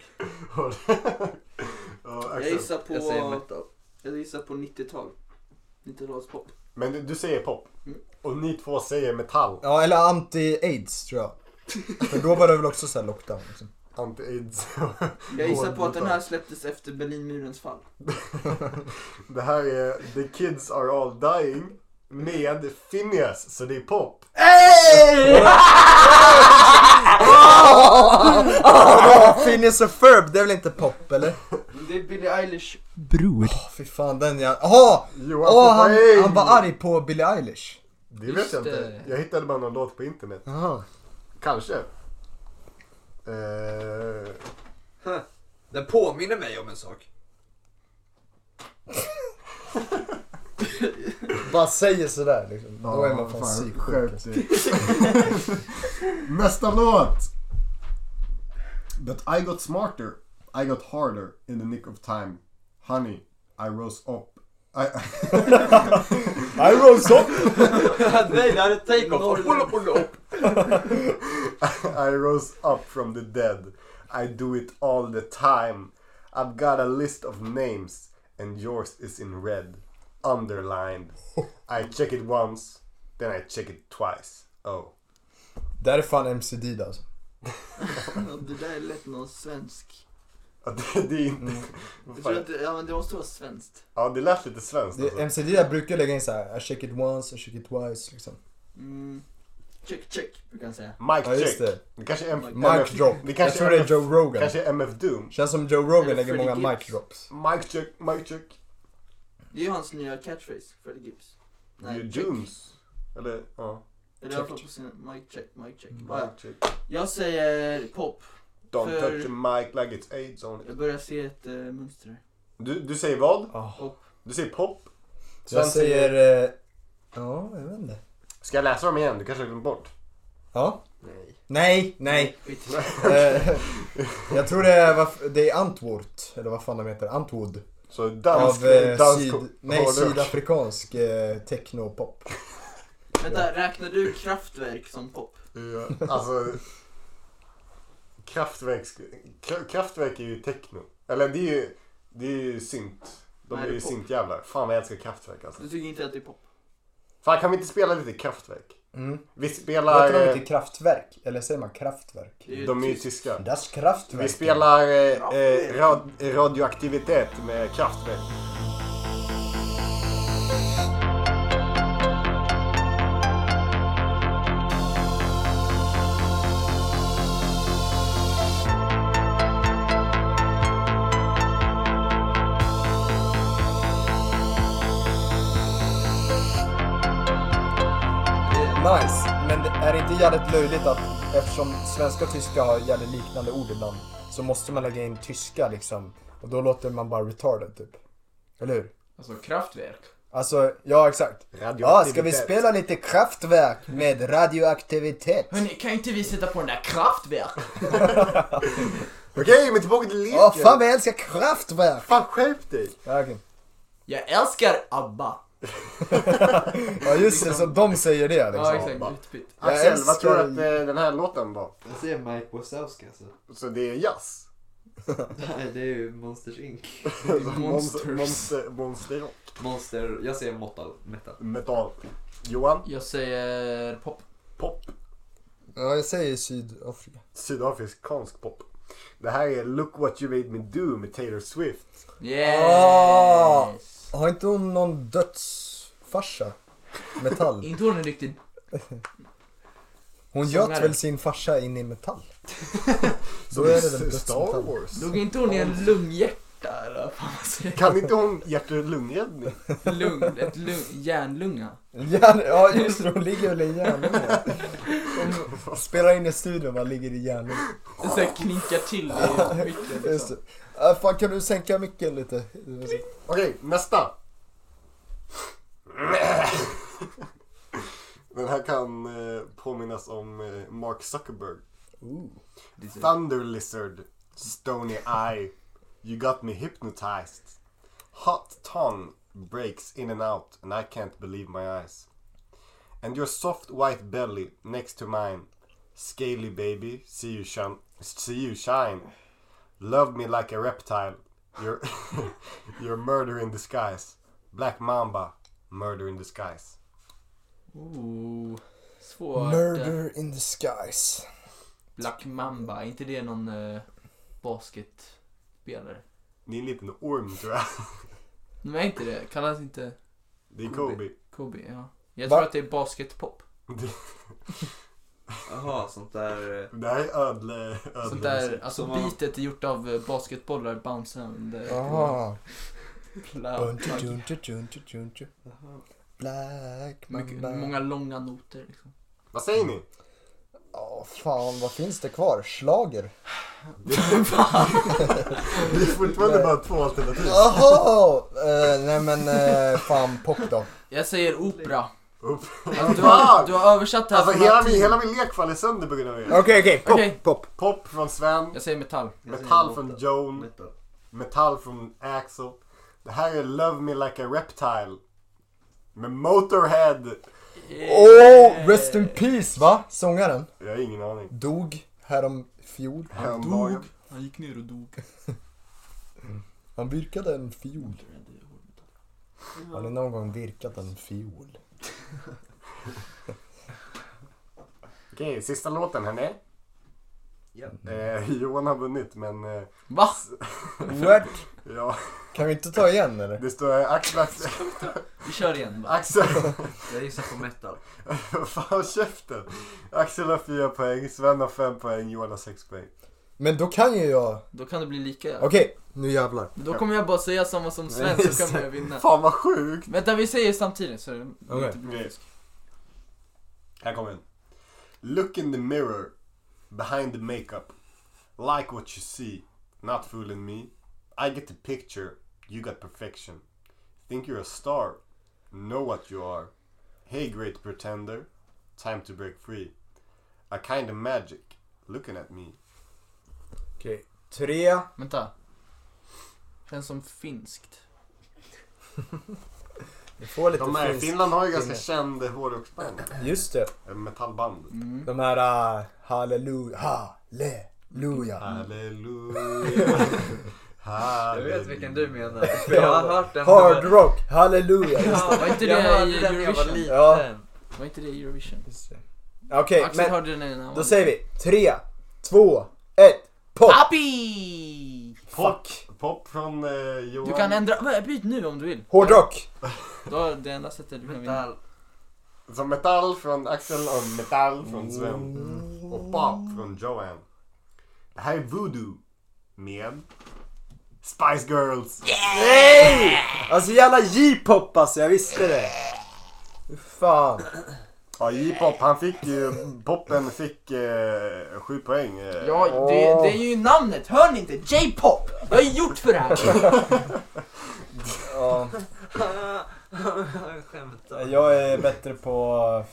Speaker 2: jag gissar på...
Speaker 14: Jag säger metal.
Speaker 2: Jag gissar på 90-tal. 90-talspop.
Speaker 3: Men du, du säger pop. Och ni två säger metall.
Speaker 4: Ja, eller anti-aids tror jag. För då var det väl också så här lockdown. Liksom.
Speaker 3: Anti-aids.
Speaker 2: Jag gissar på att
Speaker 3: Hårdrock.
Speaker 2: den här släpptes efter Berlinmurens fall.
Speaker 3: Det här är The Kids Are All Dying med Phineas, så det är pop.
Speaker 4: Hey! Phineas och Ferb, det Ah, är väl inte pop eller?
Speaker 2: Det är Billie Eilish.
Speaker 4: Bror. Åh fy fan den jag... Jaha!
Speaker 3: Johan
Speaker 4: Åh,
Speaker 3: får
Speaker 4: han,
Speaker 3: poäng.
Speaker 4: han var arg på Billie Eilish.
Speaker 3: Det vet jag inte. Jag hittade bara någon låt på internet.
Speaker 4: Jaha.
Speaker 3: Kanske. Eh,
Speaker 14: Den påminner mig om en sak.
Speaker 4: Bara säger sådär liksom. Då är man
Speaker 3: vad
Speaker 4: fan
Speaker 3: fan,
Speaker 4: psyksjuk.
Speaker 3: skärp
Speaker 4: alltså.
Speaker 3: dig. Nästa låt! But I got smarter, I got harder in the nick of time. Honey, I rose up. I,
Speaker 4: I rose up!
Speaker 14: Nej, det här är take-off.
Speaker 3: I rose up from the dead. I do it all the time. I've got a list of names, and yours is in red, underlined. I check it once, then I check it twice. Oh.
Speaker 4: Där är fan MC Dida alltså.
Speaker 2: Ja, det där är lätt någon svensk.
Speaker 3: Ja, det, det är inte...
Speaker 2: Jag tror att det, ja, men det måste vara svenskt.
Speaker 3: Ja, det lät lite svenskt.
Speaker 4: Det, MC Dida brukar lägga in såhär, I check it once, I check it twice liksom.
Speaker 2: Mm. Check, check, brukar han säga.
Speaker 3: Mic
Speaker 4: Ja, just
Speaker 3: check.
Speaker 4: det.
Speaker 3: Det kanske är M-
Speaker 4: Oh, Mic
Speaker 3: MF
Speaker 4: drop.
Speaker 3: Det
Speaker 4: Jag
Speaker 3: kanske
Speaker 4: tror det är
Speaker 3: MF
Speaker 4: Joe Rogan.
Speaker 3: Kanske MF Doom.
Speaker 4: Känns som Joe
Speaker 2: Eller
Speaker 4: Rogan lägger
Speaker 2: Freddie
Speaker 4: många
Speaker 2: Gibbs.
Speaker 4: mic drops.
Speaker 3: Mic check, mic check.
Speaker 2: Det är ju hans nya catchphrase, Freddie Gibbs.
Speaker 3: Nej,
Speaker 2: check.
Speaker 3: Dooms. Eller, ja.
Speaker 2: Eller i alla fall på sin mic check, mic check.
Speaker 3: Oh, Mic
Speaker 2: Ja,
Speaker 3: check.
Speaker 2: Jag säger pop.
Speaker 3: Don't
Speaker 2: För-
Speaker 3: touch the mic like it's AIDS on it.
Speaker 2: Jag börjar se ett eh, mönster här.
Speaker 3: Du, du säger vad?
Speaker 2: Pop.
Speaker 3: Du säger pop.
Speaker 4: Så jag
Speaker 3: Sven
Speaker 4: säger... Eh, ja, jag vet inte.
Speaker 3: Ska jag läsa dem igen? Du kanske har glömt bort.
Speaker 4: Ja.
Speaker 2: Nej.
Speaker 4: Nej, nej.
Speaker 2: Skit.
Speaker 4: Eh, jag tror det är, vad- det är Antwort, eller vad fan de heter, Antwood.
Speaker 3: Så dansk-
Speaker 4: Av eh,
Speaker 3: dansk
Speaker 4: syd,
Speaker 3: hårdrock.
Speaker 4: nej, sydafrikansk eh, technopop.
Speaker 2: Vänta, räknar du Kraftwerk som pop?
Speaker 3: Ja, Alltså... Kraftwerk, Kra- kraftwerk är ju techno. Eller det är ju, det är ju synt. De
Speaker 2: Nej,
Speaker 3: är
Speaker 2: det är
Speaker 3: ju
Speaker 2: pop.
Speaker 3: syntjävlar. Fan vad jag älskar Kraftwerk alltså.
Speaker 2: Du tycker inte att det är pop?
Speaker 3: Fan kan vi inte spela lite Kraftwerk?
Speaker 4: Mm.
Speaker 3: Vi
Speaker 4: Heter
Speaker 3: spelar...
Speaker 4: de
Speaker 3: eh,
Speaker 4: inte Kraftwerk? Eller säger man Kraftwerk?
Speaker 3: De är ju
Speaker 2: typ-
Speaker 3: tyska.
Speaker 4: Das Kraftwerk.
Speaker 3: Vi spelar eh, eh, rad, radioaktivitet med Kraftwerk.
Speaker 4: Nice, men det- är det inte jävligt löjligt att eftersom svenska och tyska har jävligt liknande ord ibland så måste man lägga in tyska liksom och då låter man bara retarded typ. Eller hur?
Speaker 17: Alltså kraftverk.
Speaker 4: Alltså, ja exakt. Ja, ska vi
Speaker 17: Radioaktivitet.
Speaker 4: spela lite kraftverk med radioaktivitet?
Speaker 17: Hörni, kan inte vi sätta på den där kraftverk?
Speaker 3: Okej, men tillbaka till leken.
Speaker 4: Åh fan vad jag älskar kraftverk!
Speaker 3: Fan skärp dig!
Speaker 4: Ja, okej.
Speaker 17: Jag älskar ABBA.
Speaker 4: ja just det, som de säger det liksom.
Speaker 17: Utbytt.
Speaker 4: Jag
Speaker 3: Axel,
Speaker 4: älskar-
Speaker 3: vad tror du att eh, den här låten var?
Speaker 14: Jag säger Mike Wazowski alltså.
Speaker 3: Så det är jazz?
Speaker 14: Nej, det är ju Monsters Inc.
Speaker 3: Monster, monster, monster rock.
Speaker 14: Monster, jag säger metal. metal.
Speaker 3: Metal. Johan?
Speaker 17: Jag säger pop.
Speaker 3: Pop.
Speaker 4: Ja, jag säger Sydafrika.
Speaker 3: Sydafrikansk pop. Det här är Look What You Made Me Do med Taylor Swift.
Speaker 4: Yes. Har inte hon någon dödsfarsa? Metall.
Speaker 2: Ah. Inte hon en riktig...
Speaker 4: Hon
Speaker 2: Sångare.
Speaker 4: göt väl sin farsa in i metall? Då är det väl dödsmetall.
Speaker 2: Dog inte hon i en lunghjärta eller vad fan man säger?
Speaker 3: Kan inte hon hjärt och lungräddning?
Speaker 2: Lung, ett lung, järnlunga.
Speaker 4: Järn, ja just det, hon ligger väl i en järnlunga. Hon spelar in i studion bara ligger i järnlunga.
Speaker 2: Det så här klinkar till i micken
Speaker 4: Just
Speaker 2: liksom.
Speaker 4: det. Äh, fan kan du sänka micken lite?
Speaker 3: Okej, nästa. Den här kan eh, påminnas om eh, Mark Zuckerberg. Thunder Lizard, Stony Eye, You Got Me Hypnotized. Hot tongue breaks in and out and I can't believe my eyes. And your soft white belly next to mine. Scaly baby, see you shine. See you shine. Love me like a reptile. You're, you're murder in disguise. Black Mamba, murder in disguise.
Speaker 2: Ooh, Oh, svårt. eh,
Speaker 4: Murder in disguise.
Speaker 2: Black Mamba, är inte det någon eh, basketspelare?
Speaker 3: Det är en liten orm tror jag.
Speaker 2: Nej, inte det. Kallas inte...
Speaker 3: Det är Kobe.
Speaker 2: Kobe, ja. Jag
Speaker 3: Va-
Speaker 2: tror att det är basketpop.
Speaker 1: Jaha, sånt där... eh.
Speaker 3: Det här är ödle... ödle
Speaker 2: Sånt där, alltså
Speaker 1: Som man-
Speaker 2: beatet är gjort av eh, basketbollar bounce under...
Speaker 4: Jaha.
Speaker 2: Plow-
Speaker 4: Buntu-duntu-duntu-duntu. Black
Speaker 2: Mycket,
Speaker 4: mamba.
Speaker 2: många långa noter liksom.
Speaker 3: Vad säger ni?
Speaker 4: Ja, fan vad finns det kvar? Schlager?
Speaker 3: Det är fortfarande bara två alternativ.
Speaker 4: Jaha! Eh, nej men eh, fan pop då.
Speaker 2: Jag säger opera.
Speaker 3: Alltså,
Speaker 2: du, har, du har översatt det här
Speaker 3: Alltså
Speaker 2: från
Speaker 3: hela min,
Speaker 2: latin.
Speaker 3: hela min lek faller sönder på grund av er.
Speaker 4: Okej, okej, pop,
Speaker 3: pop. Pop från Sven.
Speaker 2: Jag säger metall.
Speaker 3: Metall från Joan. Metall från Axel. Det här är Love Me Like A Reptile. Med Motorhead.
Speaker 4: Oh, rest in peace va? Sångaren?
Speaker 3: Jag har ingen aning.
Speaker 4: Dog härom fjol.
Speaker 3: Han dog.
Speaker 2: Han gick ner och dog.
Speaker 4: Han virkade en fiol. Har ni någon gång virkat en fiol?
Speaker 3: Okej, sista låten hörni. Eh, Johan har vunnit men... Eh,
Speaker 2: Va?
Speaker 4: What?
Speaker 3: ja.
Speaker 4: Kan vi inte ta igen eller?
Speaker 3: Det står eh, Axel... Axel.
Speaker 2: Vi kör igen bara.
Speaker 3: Axel.
Speaker 1: Jag gissar på metal.
Speaker 3: Fan käften. Axel har fyra poäng, Sven har fem poäng, Johan har sex poäng.
Speaker 4: Men då kan ju jag...
Speaker 2: Då kan det bli lika.
Speaker 4: Okej, nu jävlar.
Speaker 2: Då kommer jag bara säga samma som Sven
Speaker 4: Nej,
Speaker 2: så kommer jag vinna.
Speaker 3: Fan vad sjukt.
Speaker 2: Vänta vi säger samtidigt så det
Speaker 4: Okej.
Speaker 2: inte blir fusk.
Speaker 3: Här kommer den. Look in the mirror, behind the makeup. Like what you see, not fooling me. I get the picture, you got perfection. Think you're a star, know what you are. Hey great pretender, time to break free. A kind of magic, looking at me.
Speaker 4: Okej, tre.
Speaker 2: Vänta. Känns som finskt.
Speaker 4: Vi får lite
Speaker 3: De här,
Speaker 4: finsk
Speaker 3: Finland har ju ganska
Speaker 4: finne.
Speaker 3: känd hårdrocksband.
Speaker 4: Just det.
Speaker 3: Metallband.
Speaker 4: De här uh, halleluja, halleluja.
Speaker 3: Halleluja.
Speaker 1: Jag vet vilken du menar. För
Speaker 4: Ja.
Speaker 1: jag har hört den.
Speaker 4: Hard rock, halleluja. just det.
Speaker 2: Var inte
Speaker 1: Jag
Speaker 2: det
Speaker 1: hörde
Speaker 2: i
Speaker 1: den när jag var
Speaker 2: Eurovision?
Speaker 1: liten.
Speaker 2: Var inte det i Eurovision?
Speaker 4: Okej,
Speaker 2: Axel
Speaker 4: men
Speaker 2: hörde den när han var
Speaker 4: då säger vi tre, två, ett, pop!
Speaker 2: Happy!
Speaker 3: Pop, pop från eh, Johan.
Speaker 2: Du kan ändra, Vad, byt nu om du vill.
Speaker 4: Hårdrock!
Speaker 2: Då är det enda sättet du kan vinna.
Speaker 3: Så Alltså metall från Axel och metall från Sven. Och pop från Johan. Det här är Voodoo med Spice Girls.
Speaker 18: Nej! Alltså jävla J-pop alltså, jag visste det. Fy Fan.
Speaker 3: Ja, J-pop, han fick ju, poppen fick eh, sju poäng. eh.
Speaker 2: Ja, det, det är ju namnet, hör ni inte? J-pop! Jag är gjort för det här!
Speaker 4: Ja,
Speaker 1: Jag skämtar.
Speaker 4: jag är bättre på,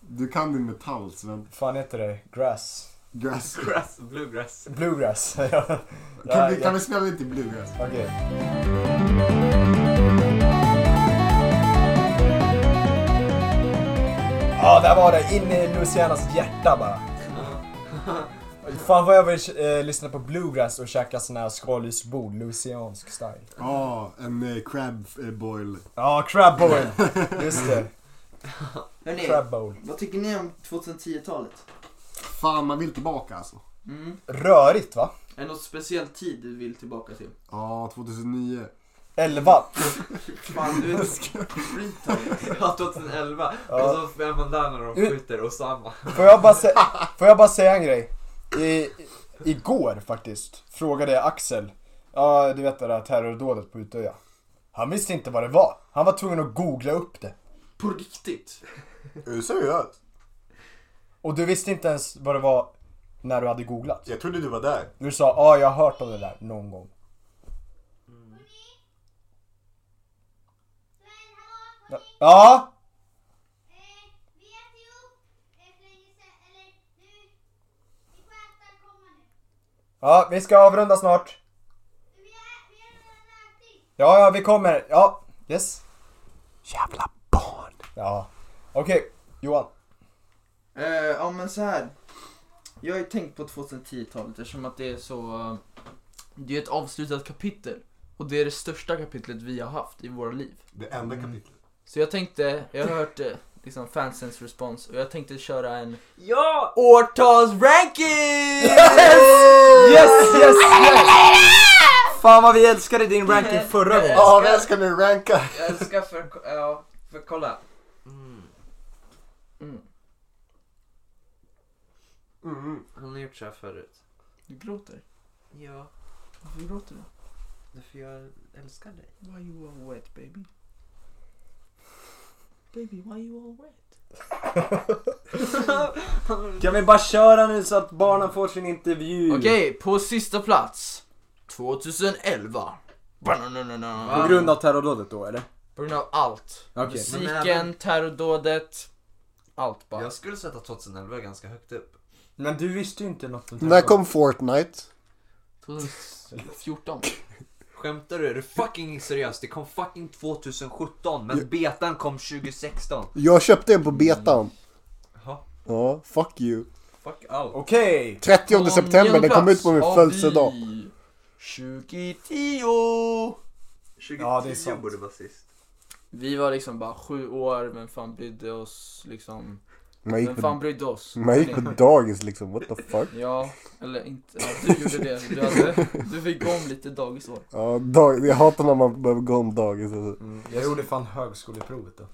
Speaker 3: Du kan din metall Sven.
Speaker 4: fan heter det? Grass?
Speaker 3: Grass.
Speaker 1: Grass, bluegrass.
Speaker 4: Bluegrass. Ja,
Speaker 3: Kan, vi,
Speaker 4: ja.
Speaker 3: kan vi spela lite bluegrass?
Speaker 4: Okej. Ja, där var det. In i Lucianas hjärta bara. Fan vad jag vill eh, lyssna på bluegrass och käka sån här skaldjursbord, luciansk style.
Speaker 3: Ja, en eh, crab eh, boil.
Speaker 4: Ja, crab bowl. Just det. Crab bowl.
Speaker 2: vad tycker ni om 2010-talet?
Speaker 3: Fan, man vill tillbaka alltså.
Speaker 2: Mm.
Speaker 4: Rörigt va?
Speaker 2: Är det något speciell tid du vill tillbaka till?
Speaker 3: Ja, 2009.
Speaker 4: 11.
Speaker 1: Fan du är retard. Ja 2011.
Speaker 4: Ja.
Speaker 2: Alltså,
Speaker 1: Och så vem man där när de skjuter Osama.
Speaker 4: Får jag bara, sä- får jag bara säga en grej? I, igår faktiskt frågade jag Axel, ja du vet det där terrordådet på Utöya. Han visste inte vad det var. Han var tvungen att googla upp det.
Speaker 2: På riktigt?
Speaker 4: Är du seriös? Och du visste inte ens vad det var när du hade googlat? Jag trodde du var där. Du sa, ja jag har hört om det där någon gång. Ja? Ja, vi ska avrunda snart. Ja, ja, vi kommer. Ja, yes. Jävla barn. Ja. Okej, Johan.
Speaker 2: Eh, ja men så här. Jag har ju tänkt på 2010-talet eftersom att det är så... eh, Det är ett avslutat kapitel. Och det är det största kapitlet vi har haft i våra liv.
Speaker 3: Det enda kapitlet.
Speaker 2: Så jag tänkte, jag har hört eh, liksom fansens respons och jag tänkte köra en...
Speaker 1: Ja!
Speaker 2: Årtalsranking!
Speaker 19: Yes, yes, yes! Fan vad vi älskade din
Speaker 2: Eh,
Speaker 19: ranking förra gången.
Speaker 3: Ja, vem ska nu ranka?
Speaker 1: Jag älskar för, ja, för kolla. Mm.
Speaker 2: Mm.
Speaker 1: Han har gjort så här förut.
Speaker 2: Du gråter.
Speaker 1: Ja,
Speaker 2: Varför gråter du?
Speaker 1: därför jag älskar dig.
Speaker 2: Why you all wet baby? Baby, why you all wet?
Speaker 19: Kan vi bara köra nu så att barnen får sin intervju?
Speaker 2: Okej, på sista plats. 2011. Bananana.
Speaker 19: På grund av terrordådet då eller?
Speaker 2: På grund av allt.
Speaker 19: Okej.
Speaker 2: Musiken,
Speaker 1: Men även-
Speaker 2: terrordådet. Allt bara.
Speaker 1: Jag skulle sätta 2011 ganska högt upp.
Speaker 4: Men du visste ju inte något om
Speaker 3: När kom Fortnite?
Speaker 2: 2014.
Speaker 1: Skämtar du? Är du fucking seriös? Det kom fucking 2017 men betan kom 2016.
Speaker 3: Jag köpte en på betan.
Speaker 1: Jaha.
Speaker 3: Ja, fuck you.
Speaker 1: Fuck allt.
Speaker 4: Okej!
Speaker 3: 30 september, den kom ut på min
Speaker 2: Avby.
Speaker 3: födelsedag.
Speaker 2: 2010!
Speaker 1: 2010
Speaker 2: Ja, det är sant.
Speaker 1: borde vara sist.
Speaker 2: Vi var liksom bara sju år, vem fan brydde oss liksom?
Speaker 3: Man gick
Speaker 2: Vem
Speaker 3: på-
Speaker 2: fan brydde oss?
Speaker 3: Man gick på dagis liksom, what the fuck?
Speaker 2: Ja, eller inte. Ja, du gjorde det. Du, hade, du fick gå om lite dagisår.
Speaker 3: Ja, dag, jag hatar när man behöver gå om dagis. Alltså.
Speaker 4: Jag gjorde fan högskoleprovet då.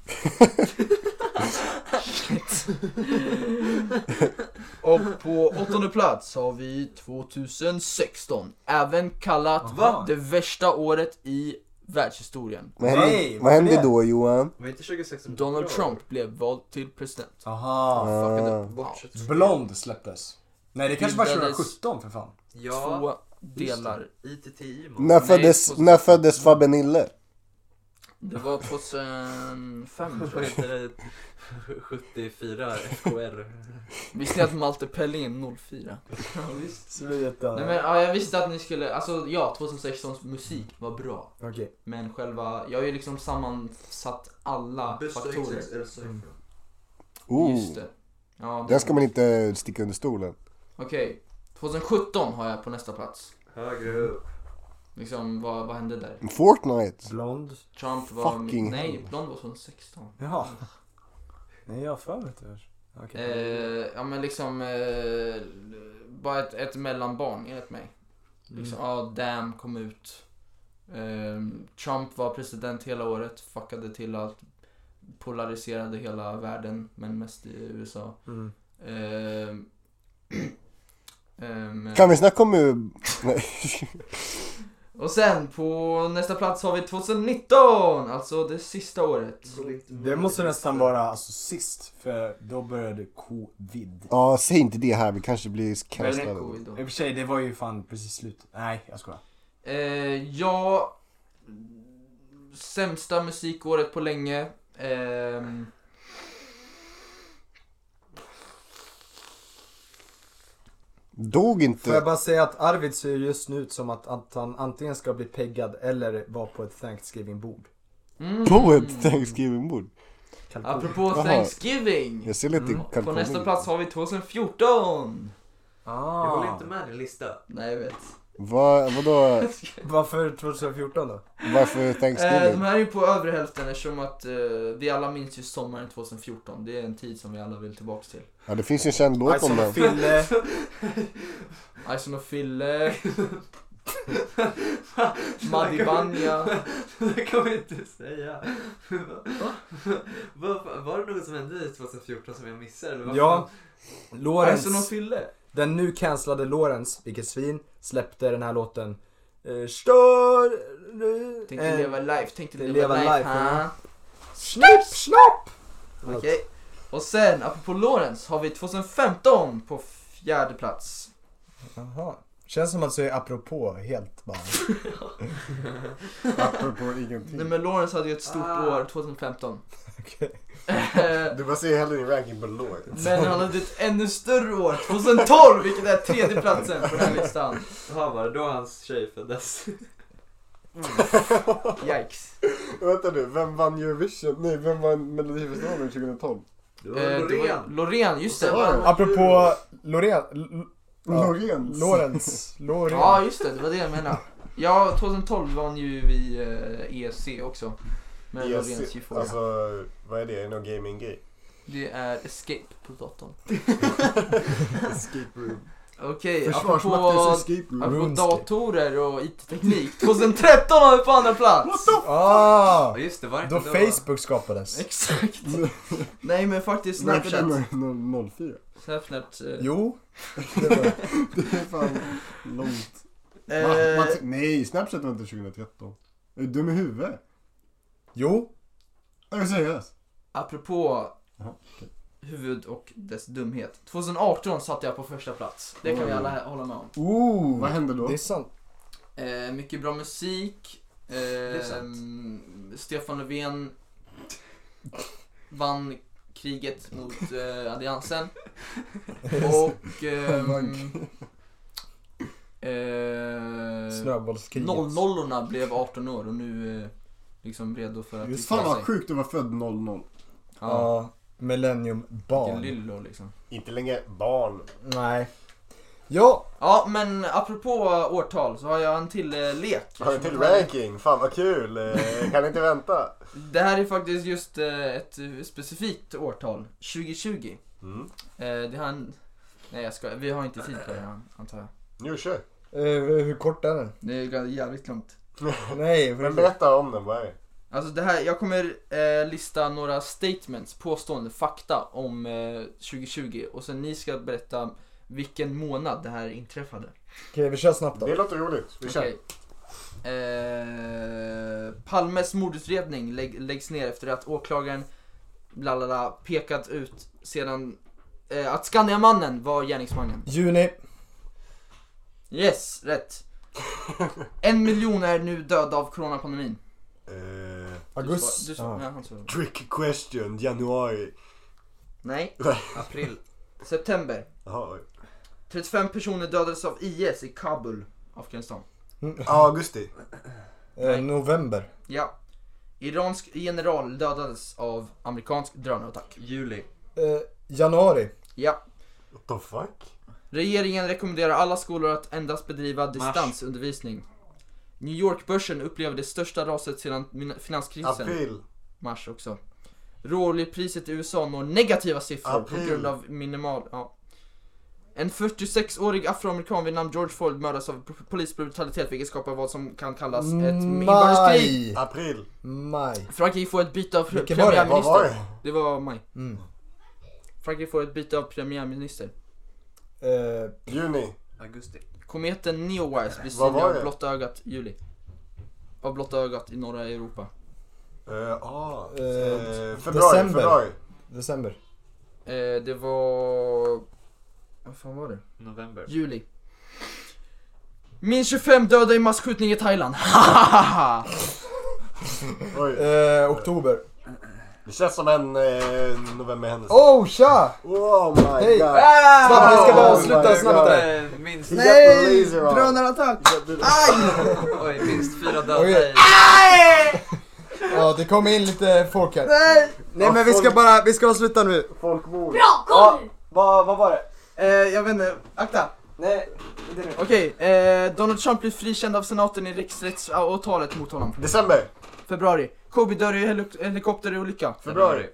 Speaker 2: Och på åttonde plats har vi 2016. Även kallat
Speaker 1: Aha.
Speaker 2: det värsta året i världshistorien.
Speaker 3: Vad hände, vad hände då Johan?
Speaker 1: Var inte 2016
Speaker 2: Donald
Speaker 1: bra?
Speaker 2: Trump blev vald till president.
Speaker 4: Ah. Aha.
Speaker 2: Fuckade
Speaker 3: Ah.
Speaker 2: Bortsett från-
Speaker 4: Blond släpptes. Nej, det kanske var
Speaker 2: Bildades
Speaker 4: 2017 för fan.
Speaker 1: Ja,
Speaker 2: Två delar.
Speaker 1: ITTI man.
Speaker 3: När föddes, när föddes Fabbe Nille?
Speaker 2: Det var 2005 tror
Speaker 1: Vad
Speaker 2: jag.
Speaker 1: heter det? 74 FKR.
Speaker 2: Visste ni att Malte Pelling är 04?
Speaker 4: Sluta.
Speaker 2: Nej men ja, jag visste att ni skulle, alltså ja 2016s musik var bra.
Speaker 4: Okej.
Speaker 2: Men själva, jag har ju liksom sammansatt alla faktorer. Mm. Just det. Ja.
Speaker 3: Den ska man inte sticka under stolen.
Speaker 2: Okej, 2017 har jag på nästa plats.
Speaker 1: Högre upp.
Speaker 2: Liksom vad, vad hände där?
Speaker 3: Fortnite.
Speaker 4: Blond.
Speaker 2: Trump var,
Speaker 3: Fucking
Speaker 2: nej Blond var 2016.
Speaker 4: Jaha. Nej, jag har för mig det.
Speaker 2: Eh, ja men liksom, eh, bara ett, ett mellanbarn enligt mig.
Speaker 3: Mm.
Speaker 2: Liksom, ja, Damn kom ut. Ehm, Trump var president hela året, fuckade till allt. Polariserade hela världen, men mest i USA.
Speaker 4: Mm.
Speaker 2: Ehm, ehm,
Speaker 3: Kan vi snacka om eh, hur... Nej.
Speaker 2: Och sen på nästa plats har vi 2019, alltså det sista året.
Speaker 4: Det måste nästan vara alltså, sist, för då började covid.
Speaker 3: Ja, säg inte det här, vi kanske blir
Speaker 4: Eller
Speaker 3: kastade.
Speaker 4: covid då. I och för sig, det var ju fan precis slut. Nej, jag skojar.
Speaker 2: Eh, ja, sämsta musikåret på länge. Ehm.
Speaker 3: Dog inte.
Speaker 4: Får jag bara säga att Arvid ser just nu ut som att, att han antingen ska bli peggad eller vara på ett Thanksgiving-bord.
Speaker 2: Mm.
Speaker 3: På ett Thanksgiving-bord.
Speaker 2: Apropå
Speaker 3: Jaha.
Speaker 2: Thanksgiving.
Speaker 3: Jag ser lite
Speaker 2: Mm. På
Speaker 3: kalkon.
Speaker 2: nästa plats har vi 2014.
Speaker 4: Ah.
Speaker 1: Jag håller inte med din lista.
Speaker 2: Nej, jag vet. Eh,
Speaker 3: Va, vadå?
Speaker 4: Varför 2014 då?
Speaker 3: Varför
Speaker 2: Eh, de
Speaker 3: Thanksgiving?
Speaker 2: här är ju på övre hälften eftersom att eh, vi alla minns ju sommaren 2014. Det är en tid som vi alla vill tillbaks till.
Speaker 3: Ja, det finns ju en Alltså,
Speaker 4: Alltså,
Speaker 3: känd låt om den.
Speaker 4: Fille.
Speaker 2: Ison och Fille. Madi Banja.
Speaker 14: Det kan man inte säga. Var, var det något som hände i 2014 som jag missade? Eller vad
Speaker 1: Ja,
Speaker 14: fan?
Speaker 1: Lorentz.
Speaker 14: Alltså, någon fyllde?
Speaker 1: Den nu cancellade Lorentz, vilket svin, släppte den här låten. Eh, Stör...
Speaker 2: Tänkte
Speaker 1: eh,
Speaker 2: leva life, tänkte leva,
Speaker 1: leva
Speaker 2: life.
Speaker 1: life, ja.
Speaker 2: ha?
Speaker 1: Snipp, snopp!
Speaker 2: Okej. Och sen, apropå Lorentz, har vi 2015 på fjärde plats.
Speaker 1: Jaha. Känns som att du är apropå helt bara.
Speaker 3: Apropå ingenting.
Speaker 2: Nej men Lorentz hade ju ett stort år 2015.
Speaker 3: Du baserar hellre din ranking på Lorentz.
Speaker 2: Men han hade ett ännu större år, 2012, vilket är tredje platsen på den här listan.
Speaker 14: Jaha, var det då hans tjej föddes?
Speaker 2: Yikes.
Speaker 3: Vänta nu, vem vann Eurovision? Nej, vem vann Melodifestivalen 2012?
Speaker 2: Eh, det var Loreen, just det.
Speaker 1: Apropå Loreen. L- ja,
Speaker 3: Lorentz.
Speaker 1: Lorentz. Loreen.
Speaker 2: Ja, just det. Det var det jag menade. Ja, 2012 vann ju vi eh, ESC också. Med
Speaker 3: ESC,
Speaker 2: Loreens Euphoria.
Speaker 3: Alltså, vad är det? Är det någon gaming-grej?
Speaker 2: Det är Escape på datorn.
Speaker 3: Escape room.
Speaker 2: Okej, Eh, apropå,
Speaker 3: Försvarsmaktens escape room.
Speaker 2: apropå
Speaker 3: Runescape.
Speaker 2: datorer och IT-teknik. 2013 har vi på andra plats!
Speaker 1: Ah,
Speaker 14: just det, var det
Speaker 1: då
Speaker 14: inte då?
Speaker 1: Facebook skapades.
Speaker 2: Exakt. Nej men faktiskt Snapchat.
Speaker 3: Snapchat 04.
Speaker 2: Snapchat. eh,
Speaker 1: Jo.
Speaker 3: Det är fan långt.
Speaker 2: Eh.
Speaker 3: Man, man, nej, Snapchat var inte 2013. Är du dum i huvudet?
Speaker 1: Jo.
Speaker 3: Är du seriös?
Speaker 2: Apropå huvud och dess dumhet. 2018 satte jag på första plats. Det kan vi alla hä- hålla med om.
Speaker 1: Ooh,
Speaker 3: Vad hände då?
Speaker 1: Det är sant.
Speaker 2: Eh, mycket bra musik.
Speaker 14: är
Speaker 2: Eh,
Speaker 14: sant.
Speaker 2: Stefan Löfven vann kriget mot eh, alliansen. Och... Ehm, eh,
Speaker 1: Snöbollskriget.
Speaker 2: Nollnollorna blev 18 år och nu eh, liksom redo för att
Speaker 3: Just
Speaker 2: yttra
Speaker 3: fan vad
Speaker 2: sig.
Speaker 3: sjukt att vara född 00.
Speaker 1: Ja. Millennium barn.
Speaker 2: Vilken lillo liksom.
Speaker 3: Inte längre barn.
Speaker 1: Nej. Ja.
Speaker 2: Ja, men apropå årtal så har jag en till eh, lek.
Speaker 3: Har du en till ranking? Fan vad kul! Eh, Kan inte vänta.
Speaker 2: Det här är faktiskt just eh, ett eh, specifikt årtal, 2020.
Speaker 3: Mm.
Speaker 2: Eh, Det här... en- Nej jag ska. vi har inte tid på det här, antar jag.
Speaker 3: Nu kör!
Speaker 1: Eh, hur kort är den?
Speaker 2: Det är gan- jävligt långt.
Speaker 1: Nej, för
Speaker 3: Men berätta om den, vad är det?
Speaker 2: Alltså det här, jag kommer eh, lista några statements, påstående, fakta om eh, 2020 och sen ni ska berätta vilken månad det här inträffade.
Speaker 1: Okej, vi kör snabbt då.
Speaker 3: Det låter roligt. Vi kör.
Speaker 2: Okej. Eh, Palmes mordutredning lägg, läggs ner efter att åklagaren lalala, pekat ut sedan eh, att Skandiamannen var gärningsmannen.
Speaker 1: Juni.
Speaker 2: Yes, rätt. en miljon är nu döda av coronapandemin.
Speaker 3: Eh,
Speaker 1: August.
Speaker 2: Du sa, du sa, ja, han sa.
Speaker 3: Trick question, januari.
Speaker 2: Nej,
Speaker 14: April.
Speaker 2: september.
Speaker 3: Jaha, oj.
Speaker 2: 35 personer dödades av IS i Kabul, Afghanistan.
Speaker 3: Ja, augusti.
Speaker 1: Eh, november.
Speaker 2: Ja. Iransk general dödades av amerikansk drönarattack.
Speaker 14: Juli.
Speaker 1: Eh, januari.
Speaker 2: Ja.
Speaker 3: What the fuck?
Speaker 2: Regeringen rekommenderar alla skolor att endast bedriva distansundervisning. New York-börsen upplever det största raset sedan min- finanskrisen.
Speaker 3: April.
Speaker 2: Mars också. Råoljepriset i USA når negativa siffror
Speaker 3: April.
Speaker 2: på grund av minimal... Ja. En 46-årig afroamerikan vid namn George Floyd mördas av p- polisbrutalitet vilket skapar vad som kan kallas ett inbördeskrig.
Speaker 1: Maj.
Speaker 3: April.
Speaker 1: Maj.
Speaker 2: Frankrike får ett byte av pre-
Speaker 1: Vilken var det? Vad
Speaker 2: premiärminister.
Speaker 3: var det?
Speaker 2: det var maj.
Speaker 1: Mm.
Speaker 2: Frankrike får ett byte av premiärminister.
Speaker 1: Eh,
Speaker 3: Juni.
Speaker 14: Augusti.
Speaker 2: Kometen Neowise blir
Speaker 3: Vad
Speaker 2: synlig
Speaker 3: var
Speaker 2: av
Speaker 3: det?
Speaker 2: blotta ögat i juli. Av blotta ögat i norra Europa.
Speaker 3: Eh, ah.
Speaker 1: Eh,
Speaker 3: Eh, februari,
Speaker 1: december.
Speaker 3: februari.
Speaker 1: december.
Speaker 2: Eh, det var... Vad fan var det?
Speaker 14: November.
Speaker 2: Juli. Minst 25 döda i masskjutning i Thailand.
Speaker 3: Oj.
Speaker 1: Eh, oktober.
Speaker 3: Det känns som en eh, novemberhändelse.
Speaker 1: Oh tja!
Speaker 3: Oh my
Speaker 1: Hej.
Speaker 3: god.
Speaker 1: Snabbt, vi ska bara
Speaker 3: Oh my
Speaker 1: avsluta
Speaker 3: God.
Speaker 1: snabbt där.
Speaker 14: Minst,
Speaker 1: Nej!
Speaker 3: laser on.
Speaker 1: Drönarattack!
Speaker 14: oj, minst fyra döda
Speaker 1: Okej.
Speaker 14: i...
Speaker 1: Ja, det kom in lite folk här.
Speaker 4: Nej!
Speaker 1: Nej men vi ska bara, vi ska avsluta nu.
Speaker 3: Folkmord.
Speaker 4: Ja, vad, vad var det?
Speaker 2: Eh, jag vet inte, akta.
Speaker 4: Nej, inte nu.
Speaker 2: Okej, eh, Donald Trump blir frikänd av senaten i riksrättsåtalet mot honom.
Speaker 3: December.
Speaker 2: Februari. Kobe dör i helik- helikopterolycka.
Speaker 3: Februari.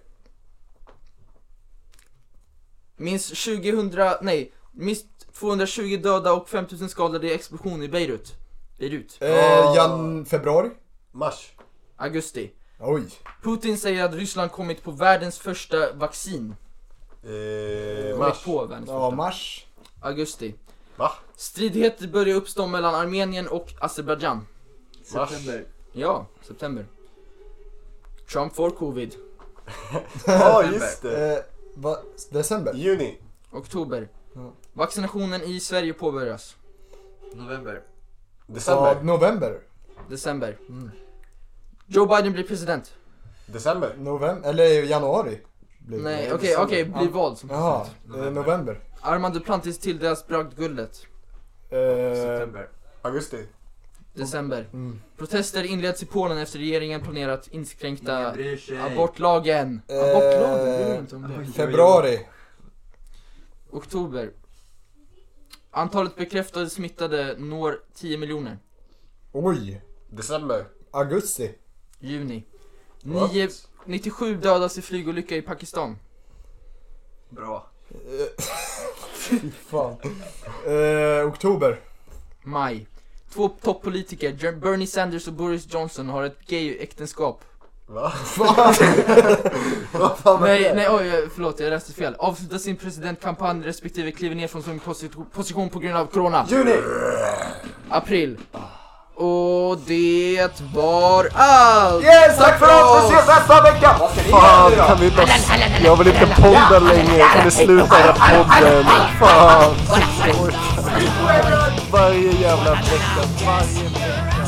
Speaker 2: Minst 2000, nej, minst 220 döda och 5000 skadade i explosion i Beirut. Beirut.
Speaker 4: Eh, jan... Februari?
Speaker 3: Mars.
Speaker 2: Augusti.
Speaker 4: Oj.
Speaker 2: Putin säger att Ryssland kommit på världens första vaccin.
Speaker 3: Eh,
Speaker 4: mars.
Speaker 2: På världens
Speaker 4: Ja,
Speaker 2: första.
Speaker 4: mars.
Speaker 2: Augusti.
Speaker 3: Va?
Speaker 2: Stridigheter börjar uppstå mellan Armenien och Azerbajdzjan.
Speaker 3: Mars. September.
Speaker 2: Ja, september. Trump får covid.
Speaker 3: Ja, just det.
Speaker 4: Eh, va? December?
Speaker 3: Juni.
Speaker 2: Oktober.
Speaker 4: Ja.
Speaker 2: Vaccinationen i Sverige påbörjas.
Speaker 1: November.
Speaker 4: December. Ja, november.
Speaker 2: December.
Speaker 4: Mm.
Speaker 2: Joe Biden blir president.
Speaker 3: December.
Speaker 4: November. Eller januari. blir det.
Speaker 2: Nej,
Speaker 4: Eh,
Speaker 2: okej,
Speaker 4: december.
Speaker 2: okej, blir vald som
Speaker 4: Jaha,
Speaker 2: president.
Speaker 4: eh, november.
Speaker 2: Armand Duplantis tilldelas Bragdguldet. Eh,
Speaker 4: September.
Speaker 3: Augusti.
Speaker 2: December.
Speaker 4: Mm.
Speaker 2: Protester inleds i Polen efter regeringen planerat inskränkta
Speaker 1: Ingen bryr sig.
Speaker 2: abortlagen.
Speaker 4: Eh,
Speaker 2: abortlagen? Bryr jag inte om det.
Speaker 4: Februari.
Speaker 2: Oktober. Antalet bekräftade smittade når 10 miljoner.
Speaker 4: Oj.
Speaker 3: December.
Speaker 4: Augusti.
Speaker 2: Juni.
Speaker 4: What?
Speaker 2: Nio- 97 dödas i flygolycka i Pakistan.
Speaker 1: Bra.
Speaker 4: Fy fan. Eh, oktober.
Speaker 2: Maj. Två toppolitiker, Jer- Bernie Sanders och Boris Johnson, har ett gay-äktenskap.
Speaker 3: Va?
Speaker 4: Vad fan var
Speaker 2: nej,
Speaker 4: det?
Speaker 2: nej, oj, eh, förlåt, jag läste fel. Avslutar sin presidentkampanj respektive kliver ner från sin posi- position på grund av corona.
Speaker 3: Juni!
Speaker 2: April.
Speaker 4: Ah.
Speaker 2: Och det var allt!
Speaker 3: Yes, tack för oss! Vi ses nästa vecka! Fan, kan vi bara... Jag vill inte podda längre. Kan vi sluta hela podden? Fan. Varje jävla vecka. Varje vecka.